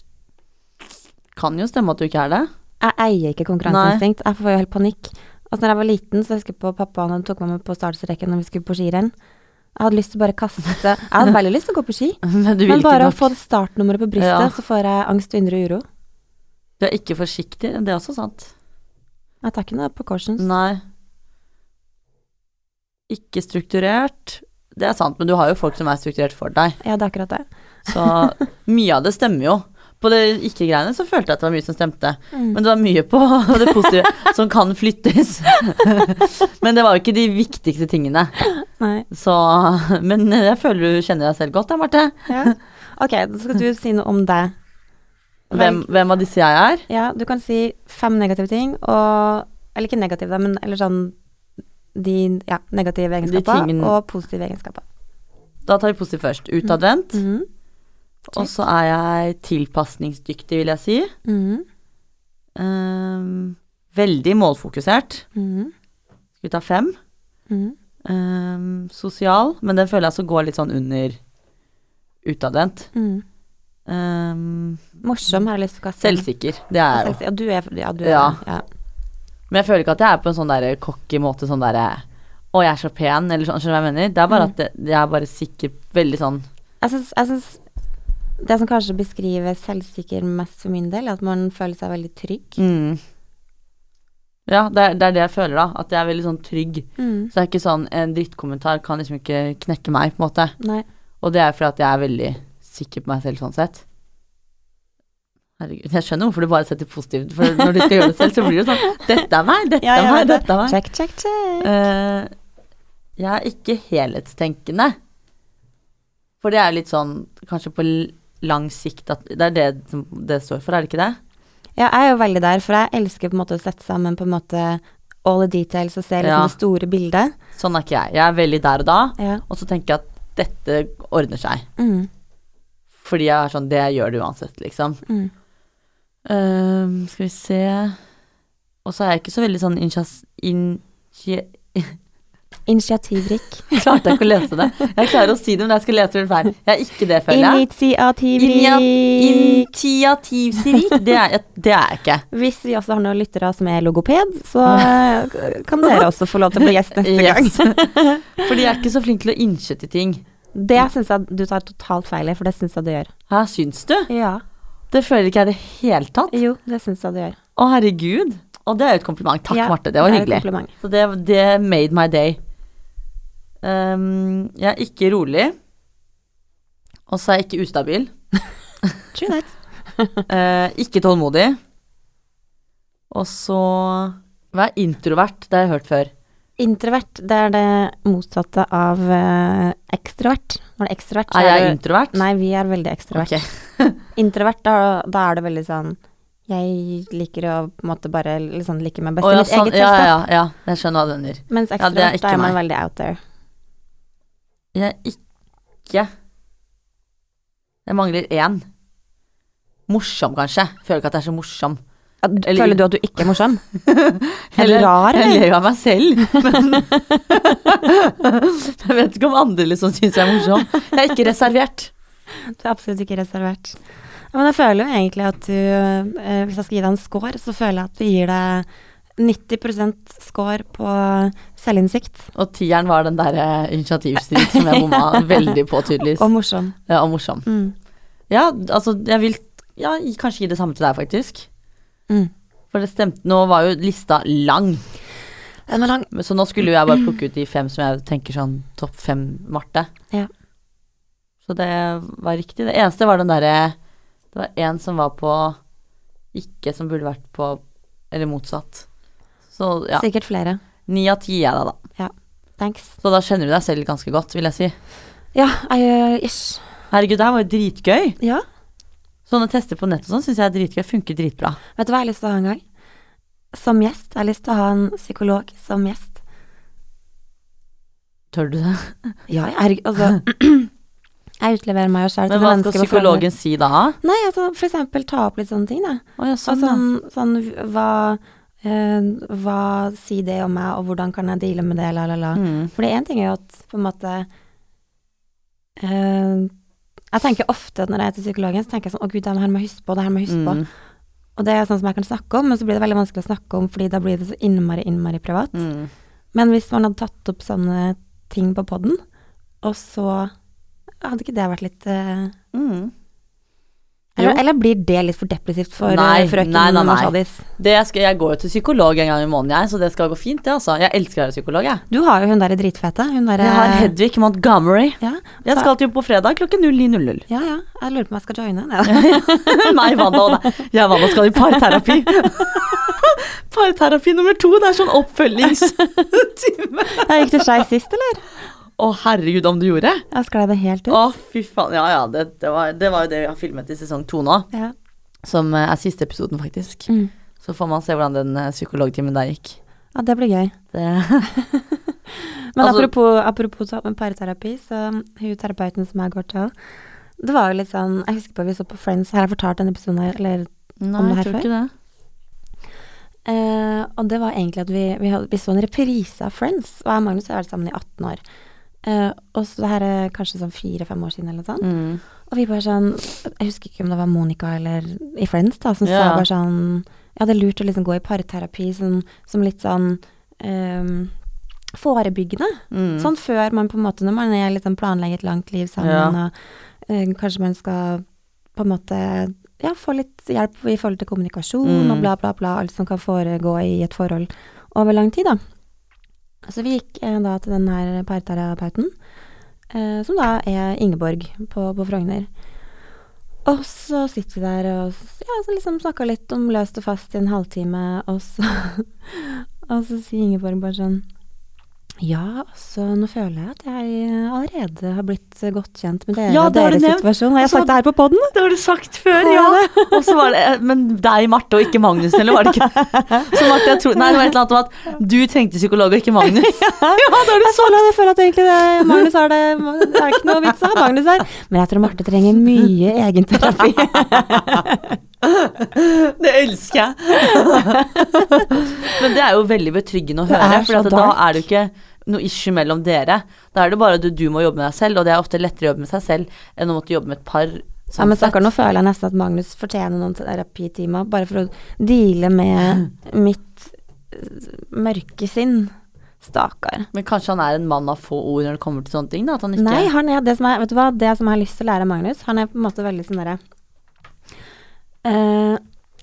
Kan jo stemme at du ikke er det. <laughs> Jeg eier ikke konkurranseinstinkt. Jeg får jo helt panikk. Altså, når jeg var liten, så husker jeg på pappa han tok meg med på startstreken når vi skulle på skirenn. Jeg hadde lyst til å bare kaste Jeg hadde veldig lyst til å gå på ski, Men <laughs> du vil men ikke bare å nok. få det startnummeret på brystet, Ja. så får jeg angst, indre uro. Du er ikke forsiktig. Det er også sant. Jeg tar ikke noe precautions. Nei. Ikke strukturert. Det er sant, men du har jo folk som er strukturert for deg. Ja, det er akkurat det. Så mye av det stemmer jo. På det ikke-greiene så følte jeg at det var mye som stemte. Mm. Men det var mye på <laughs> det positive som kan flyttes. <laughs> Men det var jo ikke de viktigste tingene. Nei. Så Men jeg føler du kjenner deg selv godt, da, Marte. Ja. Ok, da skal du si noe om deg. Hvem, hvem av disse jeg er? Ja, du kan si fem negative ting, og Eller ikke negative, da, men eller sånn de ja, negative egenskaper tingene- og positive egenskaper. Da tar vi positivt først. Utadvendt. Mhm. Og så er jeg tilpasningsdyktig, vil jeg si. Mhm. Ehm, veldig målfokusert. Mhm. Skal vi ta fem? Mhm. Ehm, sosial, men den føler jeg så går litt sånn under utadvendt. Mhm. Ehm, Morsom har jeg lyst til å kaste. inn. selvsikker, det er jeg jo. Selvsikker. Ja, du er, ja, du er Ja. det, ja. Men jeg føler ikke at jeg er på en sånn der cocky måte, sånn derre Å, jeg er så pen, eller sånn, skjønner du hva jeg mener? Det er bare at det, jeg er bare sikker, veldig sånn Jeg syns- Jeg syns det som kanskje beskriver selvsikker mest for min del, er at man føler seg veldig trygg. mm. Ja, det er, det er det jeg føler, da. At jeg er veldig sånn trygg. Mm. Så det er ikke sånn En drittkommentar kan liksom ikke knekke meg, på en måte. Nei. Og det er fordi at jeg er veldig sikker på meg selv sånn sett. Herregud, jeg skjønner hvorfor du bare setter positivt, for når du skal gjøre det selv, så blir det sånn Dette er meg, dette Ja, er jeg meg, vet det. dette er meg. Check, check, check. Eh, jeg er ikke helhetstenkende. For det er litt sånn kanskje på l- lang sikt at Det er det som det står for, er det ikke det? Ja, jeg er jo veldig der, for jeg elsker på en måte å sette sammen på en måte all the details og se liksom Ja. det store bildet. Sånn er ikke jeg. Jeg er veldig der og da, Ja. og så tenker jeg at dette ordner seg. Mm. Fordi jeg er sånn Det gjør det uansett, liksom. Mm. Ehm, skal vi se Og så er jeg ikke så veldig sånn initias... In, je- Initiativrik. klarte jeg ikke å lese det. Jeg klarer å si det, men jeg skal lese det feil. Jeg er ikke det, <laughs> føler jeg. Inia- Initiativrik. Initiativrik, det er, jeg- det er jeg ikke. Hvis vi også har noen lyttere som er logoped, så eh, <laughs> kan dere også få lov til å bli gjest neste gang. <laughs> Yes. <laughs> Fordi jeg er ikke så flink til å innse til ting. Det syns jeg du tar totalt feil i, for det syns jeg du gjør. Hæ, syns du? Ja. Det føler ikke jeg i det hele tatt. Jo, det syns jeg du gjør. Å, herregud. Og det er jo et kompliment. Takk, Ja, Marte. Det var det er et hyggelig. kompliment. Så det, det made my day. Ehm, jeg er ikke rolig. Og så er jeg ikke ustabil. True that. Eh, ikke tålmodig. Og så Hva er introvert? Det har jeg hørt før. Introvert, det er det motsatte av eh, ekstrovert. Når det er ekstrovert, så Er jeg er det introvert? Nei, vi er veldig ekstrovert. Ok. Introvert, da, da er det veldig sånn Jeg liker å på en måte bare liksom, like meg best Å i ja, mitt sånn, eget ja, selskap. ja, ja, jeg skjønner hva du mener. Mens Ja, det er ekstrovert, da ikke er man meg. veldig out there. Jeg er ikke Jeg mangler én. Morsom, kanskje. Føler ikke at jeg er så morsom. Eller- Føler du at du ikke <laughs> er morsom? Er du Eller- rar, Jeg eller? ler jo av meg selv, men <laughs> Jeg vet ikke om andre liksom syns jeg er morsom. Jeg er ikke reservert. Du er absolutt ikke reservert. Ja, Men jeg føler jo egentlig at du, eh, hvis jeg skal gi deg en score, så føler jeg at du gir deg 90 score på selvinnsikt Og tieren var den derre initiativstrid som jeg bomma <laughs> veldig på, tydeligvis. og morsom. Ja, Eh, og morsom. Mm. Ja, altså, jeg vil ja, kanskje gi det samme til deg, faktisk. Mm. For det stemte. Nå var jo lista lang. Den var lang. Men Så nå skulle jo jeg bare plukke ut de fem som jeg tenker sånn topp fem Marte. Ja. Så det var riktig. Det eneste var den derre Det var en som var på ikke som burde vært på Eller motsatt. Så ja. Sikkert flere. Ni av ti er det, da. Thanks. Så da kjenner du deg selv ganske godt, vil jeg si. Ja, jeg, eh, yes. Herregud, det her var jo dritgøy. ja. Sånne tester på nett og sånn syns jeg er dritgøy. Funker dritbra. Vet du hva jeg har lyst til å ha en gang? Som gjest. Jeg har lyst til å ha en psykolog som gjest. Tør du det? Ja, jeg, herregud, altså <clears throat> Jeg utleverer meg jo sjøl til Men det hva mennesket skal på forhånd. psykologen si da? Nei, altså for eksempel ta opp litt sånne ting, da. Å ja, Og sånn, ja. sånn, sånn hva eh, Hva sier det om meg, og hvordan kan jeg deale med det, la, la, la. Mm. For det én ting er jo at på en måte eh, Jeg tenker ofte at når jeg er til psykologen, så tenker jeg sånn Å, gud, det her må jeg huske på, det her må jeg huske på. Mm. Og det er sånn som jeg kan snakke om, men så blir det veldig vanskelig å snakke om, fordi da blir det så innmari, innmari privat. Mm. Men hvis man hadde tatt opp sånne ting på poden, og så hadde ikke det vært litt eh, Mm. Jo. eller, eller blir det litt for depressivt for Nei, eh, frøken nei, nei, nei. Mercedes? Det skal, jeg går jo til psykolog en gang i måneden, jeg, så det skal gå fint, det, altså. Jeg elsker å være psykolog, jeg. Du har jo hun der dritfete. Hun der, Jeg har eh, Hedvig Montgomery. ja, Jeg så- skal til på fredag klokken 09.00. ja, ja. Jeg lurer på om jeg skal joine. <laughs> Nei, <laughs> Nei, Wanda og deg. Jeg og Wanda skal i parterapi. <laughs> parterapi nummer to. Det er sånn <laughs> oppfølgingstime. da gikk det skeis sist, eller? Å, herregud, om du gjorde? Jeg sklei det helt ut. Å, fy faen. Ja ja, det, det, var, det var jo det vi har filmet i sesong to nå, Ja. som eh, er siste episoden, faktisk. Mm. Så får man se hvordan den eh, psykologtimen der gikk. ja, det blir gøy. eh, <laughs> Det, Men Altså- apropos, apropos ta- parterapi, så um, hun terapeuten som jeg går til Det var jo litt sånn Jeg husker på vi så på Friends, har jeg fortalt denne episoden her, eller nei, det her jeg tror ikke det. eh, Og det var egentlig at vi, vi, hadde, vi så en reprise av Friends, og jeg og Magnus har vært sammen i 18 år. Eh, og så det her er kanskje sånn fire-fem år siden eller noe sånt. Mm. Og vi bare sånn Jeg husker ikke om det var Monica eller i Friends da, som sa Ja. bare sånn Ja, det er lurt å liksom gå i parterapi som, som litt sånn ehm, forebyggende. Mm. Sånn før man på en måte, når man er litt sånn planlegger et langt liv sammen, og eh, kanskje man skal på en måte ja, få litt hjelp i forhold til kommunikasjon Mm. og bla, bla, bla, alt som kan foregå i et forhold over lang tid, da. Så vi gikk eh, da til den her parterapeuten, eh, som da er Ingeborg på, på Frogner. Og så sitter vi der og s- ja, så liksom snakker litt om løst og fast i en halvtime, og så, <laughs> og så sier Ingeborg bare sånn ja, altså nå føler jeg at jeg allerede har blitt eh, godt kjent med dere Ja, og det har du deres nevnt. situasjon. Har jeg Altså, sagt det her på poden? Det har du sagt før, ja. <laughs> <laughs> Har Og så var det, eh, Men deg, Marte, og ikke Magnus, eller var det <laughs> ikke? Så Marte, jeg tror, nei, det var et eller annet om at du trengte psykolog og ikke Magnus. <laughs> Ja, det har du Jeg føler, jeg føler at egentlig det, Magnus har det Det er ikke noe vits å ha Magnus her. Men jeg tror Marte trenger mye egenterapi. sagt. <laughs> Det elsker <laughs> jeg. Men det er jo veldig betryggende å Det høre, er for så at da dark. er det jo ikke noe issue mellom dere. Da er det bare at du, du må jobbe med deg selv, og det er ofte lettere å jobbe med seg selv enn å måtte jobbe med et par. sånn Ja, men sett. stakkar, nå føler jeg nesten at Magnus fortjener noen terapitimer, bare for å deale <laughs> med mitt eh, mørke sinn. Stakkar. Men kanskje han er en mann av få ord når det kommer til sånne ting? da, at han ikke... Nei, han er det som er Vet du hva, det som jeg har lyst til å lære Magnus, han er på en måte veldig sånn derre eh,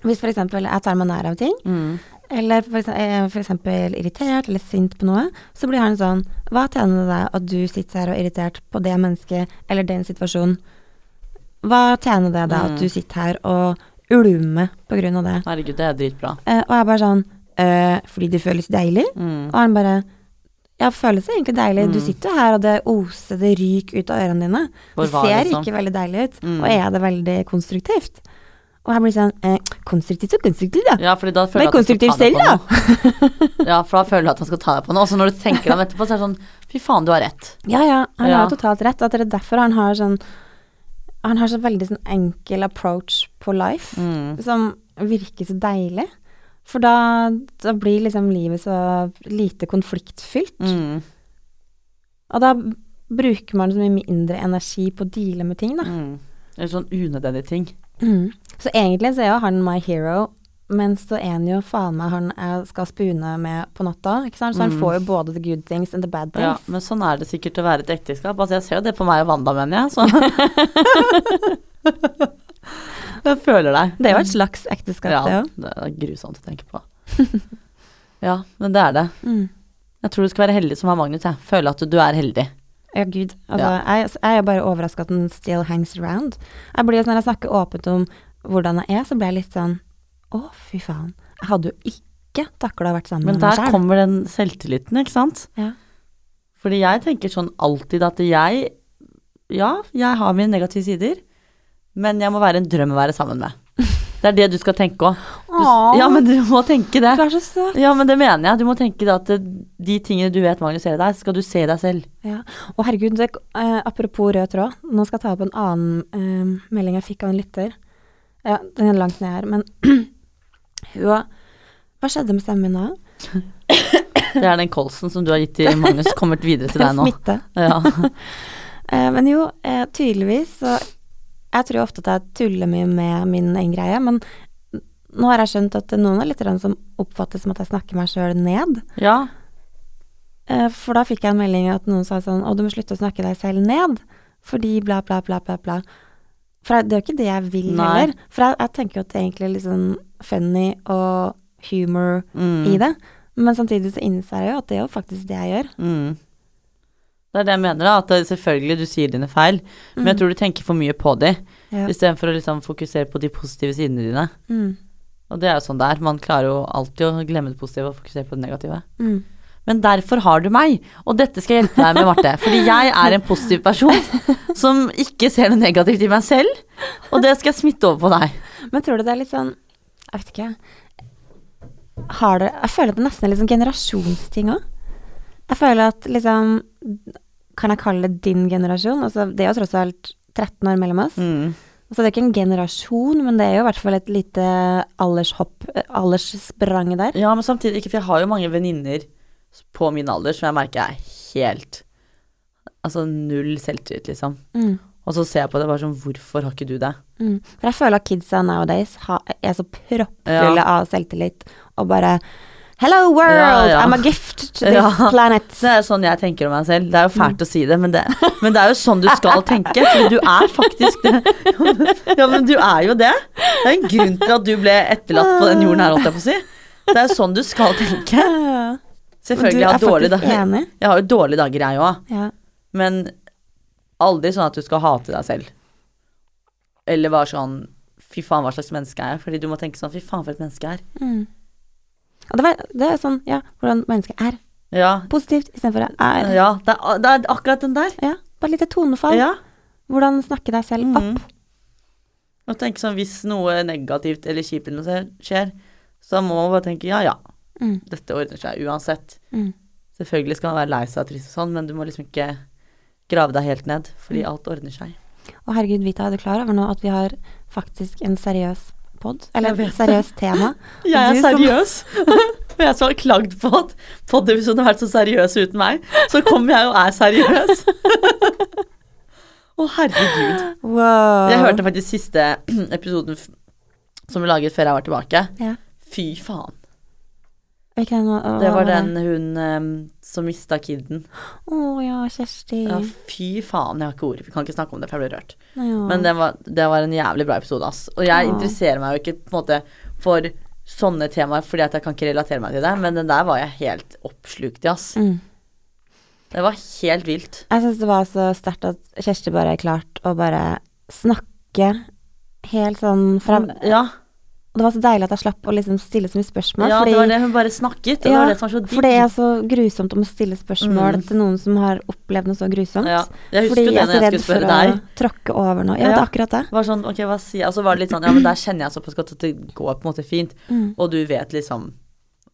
Hvis for eksempel jeg tar meg nær av ting, Mm. Eller for eksempel, er for eksempel irritert eller sint på noe, så blir han sånn Hva tjener det deg at du sitter her og er irritert på det mennesket eller den situasjonen? Hva tjener det deg Mm. at du sitter her og ulmer på grunn av det? Herregud, det er dritbra. Eh, og jeg bare sånn eh, Fordi det føles deilig? Mm. Og han bare Ja, det føles egentlig deilig. Du sitter jo her, og det oser, det ryker ut av ørene dine. Hvor det var ser liksom? ikke veldig deilig ut. Mm. Og er det veldig konstruktivt? Og her blir det sånn eh, Konstruktivt og konstruktivt, da. Ja, fordi da føler jeg at han skal Vær konstruktiv ta deg selv, på noe. <laughs> Ja, for da føler du at han skal ta deg på noe. Og så når du tenker deg om etterpå, så er det sånn Fy faen, du har rett. Ja, ja, han Ja. har jo totalt rett. At det er derfor han har sånn Han har så veldig sånn enkel approach på life, Mm. som virker så deilig. For da, da blir liksom livet så lite konfliktfylt. Mm. Og da bruker man så mye mindre energi på å deale med ting, da. Mm. Eller sånn unødvendige ting. Mm. Så egentlig så er jo han my hero, men så er han jo faen meg han jeg skal spune med på natta, ikke sant. Så han Mm. får jo både the good things and the bad Ja, things. men sånn er det sikkert å være i et ekteskap. Altså, jeg ser jo det på meg og Wanda, mener jeg. Så. <laughs> jeg føler deg. Det er jo et slags ekteskap, det ja, òg. det er grusomt å tenke på. <laughs> ja, men det er det. Mm. Jeg tror du skal være heldig som har Magnus. Jeg føler at du, du er heldig. Ja, gud. Altså, jeg, jeg er bare overraska at den still hangs around. Jeg blir, jo sånn, Når jeg snakker åpent om hvordan jeg er, så blir jeg litt sånn Å, fy faen. Jeg hadde jo ikke takla å vært sammen Men med meg der selv. kommer den selvtilliten, ikke sant? Mm. Ja. Fordi jeg tenker sånn alltid at jeg Ja, jeg har mine negative sider, men jeg må være en drøm å være sammen med. Det er det du skal tenke òg. Åh, Ja, men du må tenke det. du er så søt. Ja, men det mener jeg. Du må tenke det at eh, de tingene du vet Magnus ser i deg, skal du se i deg selv. Ja. Og herregud, det, eh, apropos rød tråd. Nå skal jeg ta opp en annen eh, melding jeg fikk av en lytter. Ja, den er langt ned her, men <clears throat> hun Hva skjedde med stemmen min nå? Det er den kolsen som du har gitt til Magnus, kommet videre til <laughs> deg nå. Smitte. Ja. Eh, men jo, eh, tydeligvis så Jeg tror ofte at jeg tuller mye med min egen greie, men nå har jeg skjønt at noen er litt grann som oppfattes som at jeg snakker meg sjøl ned. ja. Eh, for da fikk jeg en melding at noen sa sånn Å, du må slutte å snakke deg selv ned, fordi bla, bla, bla, bla, bla. For jeg- det er jo ikke det jeg vil Nei. heller. For jeg, jeg tenker jo at det er egentlig litt sånn funny og humor Mm, i det. Men samtidig så innser jeg jo at det er jo faktisk det jeg gjør. Mm. Det er det jeg mener, da. At det- selvfølgelig, du sier dine feil, men jeg tror du tenker for mye på de, Ja. istedenfor å liksom fokusere på de positive sidene dine. Mm. Og det er jo sånn det er. Man klarer jo alltid å glemme det positive og fokusere på det negative. Mm. Men derfor har du meg, og dette skal jeg hjelpe deg med, Marte. Fordi jeg er en positiv person som ikke ser noe negativt i meg selv, og det skal jeg smitte over på deg. Men tror du det er litt sånn Jeg vet ikke. Har det, jeg føler at det nesten er litt sånn generasjonsting òg. Jeg føler at liksom Kan jeg kalle det din generasjon? Altså, det er jo tross alt 13 år mellom Mm. oss. Altså, det er ikke en generasjon, men det er jo i hvert fall et lite aldershopp, eh, alderssprang der. Ja, men samtidig ikke, for jeg har jo mange venninner på min alder som jeg merker er helt Altså null selvtillit, liksom. Mm. Og så ser jeg på det bare sånn, hvorfor har ikke du det? Mm. For jeg føler at kidsa nowadays ha, er så proppfulle av selvtillit og bare Hello world, Ja, ja. I'm a gift to <laughs> this Ja. planet. Det er sånn jeg tenker om meg selv. Det er jo Mm. fælt å si det, men det, men det er jo sånn du skal tenke. For du er faktisk det. Ja, men du er jo det. Det er en grunn til at du ble etterlatt på den jorden her, holdt jeg på å si. Det er jo sånn du skal tenke. Ja. Selvfølgelig, jeg har, Du er dårlige faktisk dager. enig. jeg har jo dårlige dager, jeg òg. Ja. Men aldri sånn at du skal hate deg selv. Eller være sånn Fy faen, hva slags menneske er jeg? Fordi du må tenke sånn Fy faen, for et menneske jeg er. Mm. Og det, var, det er sånn, ja, hvordan mennesket er. Ja. Positivt istedenfor er. ja det, er, det er akkurat den der. Ja, bare lite tonefall. Ja. Hvordan snakke deg selv opp. Mhm. Og tenke sånn hvis noe negativt eller kjipt eller noe skjer, så må man bare tenke ja, ja. Mm. Dette ordner seg uansett. Mm. Selvfølgelig skal man være lei seg og trist og sånn, men du må liksom ikke grave deg helt ned, fordi alt ordner seg. Og herregud, Vita, er du klar over nå at vi har faktisk en seriøs pod? Eller Jeg vet et <laughs> seriøst tema? Jeg er Du <laughs> som- seriøs. Og jeg som har klagd på at podiepisoden har vært så seriøs uten meg, så kommer jeg og er seriøs. <laughs> Å, herregud. Wow. Jeg hørte faktisk siste <clears throat> episoden f- som vi laget før jeg var tilbake. Ja. Fy faen. Hvilken hva- hva Det var den hun em, som mista kiden. Å ja, Kjersti. Ja, fy faen, jeg har ikke ord. Vi kan ikke snakke om det, for jeg blir rørt. Nå ja. Men det var, det var en jævlig bra episode, ass. Og jeg Ja. interesserer meg jo ikke på en måte for sånne temaer fordi at jeg kan ikke relatere meg til det, men den der var jeg helt oppslukt i, ass. Mm. Det var helt vilt. Jeg syns det var så sterkt at Kjersti bare klarte å bare snakke helt sånn fra Ja. Og det var så deilig at jeg slapp å liksom stille så mye spørsmål. Ja, fordi, det var det hun bare snakket, og det Ja, var det som var så digg. for det er så grusomt om å stille spørsmål Mm. til noen som har opplevd noe så grusomt. ja, jeg husker fordi jo det når jeg skulle for spørre deg. å tråkke over noe. Ja, det Ja. er akkurat det. Det Var sånn, ok, hva sier jeg? Og så var det litt sånn, ja, men der kjenner jeg såpass godt at det går på en måte fint. Mm. Og du vet liksom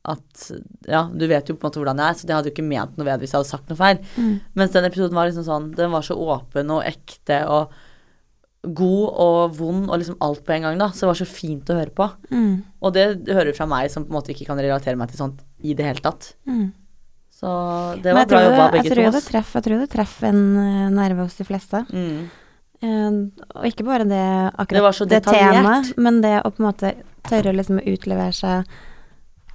at Ja, du vet jo på en måte hvordan jeg er, så det hadde jo ikke ment noe ved hvis jeg hadde sagt noe feil. Mm. Mens den episoden var liksom sånn Den var så åpen og ekte og god og vond og liksom alt på en gang, da. Så det var så fint å høre på. Mm. Og det hører du fra meg som på en måte ikke kan relatere meg til sånt i det hele tatt. Mm. Så det var Men jeg bra tror jobba, det- begge jeg to. tror det ass. treff- Jeg tror det treffer en eh, nerve hos de fleste. Mm. Eh, og ikke bare det akkurat Det var så detaljert. temaet, men det å på en måte tørre liksom å utlevere seg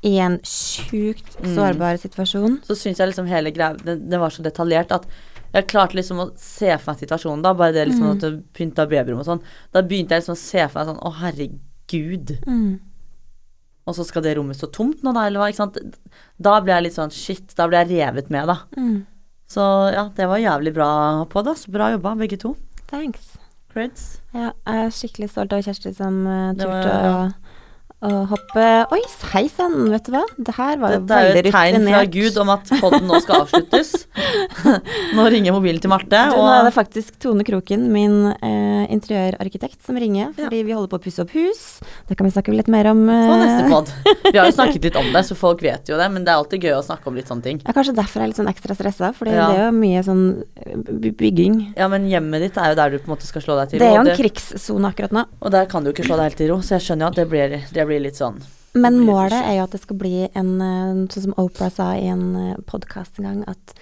i en sjukt Mm. sårbar situasjon. så syns jeg liksom hele greia det, det var så detaljert at jeg klarte liksom å se for meg situasjonen da. Bare det liksom Mm. at du pynta babyrom og sånn. Da begynte jeg liksom å se for meg sånn Å, herregud. Mm. Og så skal det rommet stå tomt nå, da, eller hva? Ikke sant? Da ble jeg litt sånn Shit, da ble jeg revet med, da. Mm. Så ja, det var jævlig bra på det. ass. bra jobba, begge to. Thanks. Creds. Ja, jeg er skikkelig stolt av Kjersti som eh, Det var- turte å, å hoppe Oi, hei sann, vet du hva. Det her var jo Dette er jo veldig et tegn fra rutinert. Gud om at podden nå skal <laughs> avsluttes. nå ringer mobilen til Marte, Du, nå er det og faktisk Tone Kroken, min eh, interiørarkitekt, som ringer. Ja. Fordi vi holder på å pusse opp hus. Det kan vi snakke litt mer om. på neste eh, pod. Vi har jo snakket litt om det, så folk vet jo det, men det er alltid gøy å snakke om litt sånne ting. Ja, kanskje derfor er jeg litt sånn ekstra stressa, for Ja. det er jo mye sånn eh, by- bygging. Ja, men hjemmet ditt er jo der du på en måte skal slå deg til Det er ro. jo en og det- krigssone akkurat nå, Og der kan du ikke slå deg helt til ro, så jeg skjønner jo at det blir, det blir litt sånn men Det blir målet ikke- er jo at det skal bli en eh, Sånn som Opera sa i en podkast en gang, at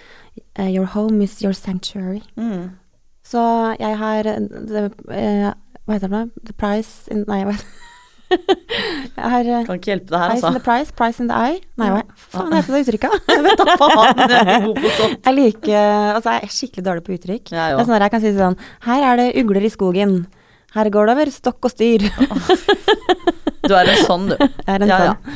eh, your home is your sanctuary. mm. Så jeg har eh, det, eh, Hva heter det for noe? The price in Nei, hva <laughs> Jeg har eh, Kan ikke hjelpe deg her, Eyes in altså. the price, price in the eye. Nei, hva faen heter det uttrykket? <laughs> Jeg vet da <laughs> faen, jeg er god på sånt. <laughs> Jeg liker Altså, jeg er skikkelig dårlig på uttrykk. Jeg er jo. Det er sånn at jeg kan si sånn Her er det ugler i skogen. Her går det over stokk og styr. <laughs> Du er en sånn, du. Jeg er en Ja, ja. sånn.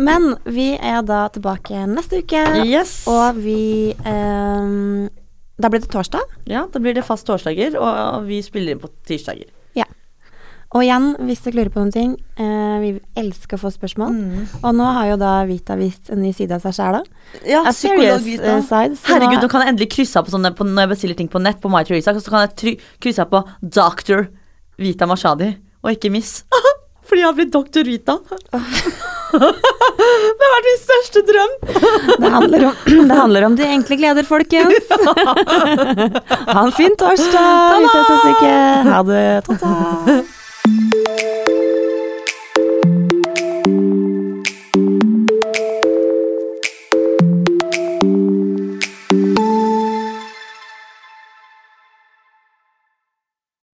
Men vi er da tilbake neste uke, Yes. og vi ehm, Da blir det torsdag. Ja, da blir det fast torsdager, og vi spiller inn på tirsdager. Og igjen, hvis dere lurer på noen ting eh, Vi elsker å få spørsmål. Mm. Og nå har jo da Vita vist en ny side av seg sjæl, da. Ja, A serious psykolog- eh, side. så nå- Herregud, nå kan jeg endelig krysse av på sånne på, Når jeg bestiller ting på nett på My Teresa, så kan jeg try, krysse av på Dr. Vita Mashadi, og ikke Miss. <laughs> Fordi jeg har blitt Dr. Vita. <laughs> det har vært min største drøm. Det handler, <laughs> om, det handler om de enkle gleder, folkens. <laughs> <laughs> ha en fin torsdag. Vi ses neste uke. Ha det. Ta-ta.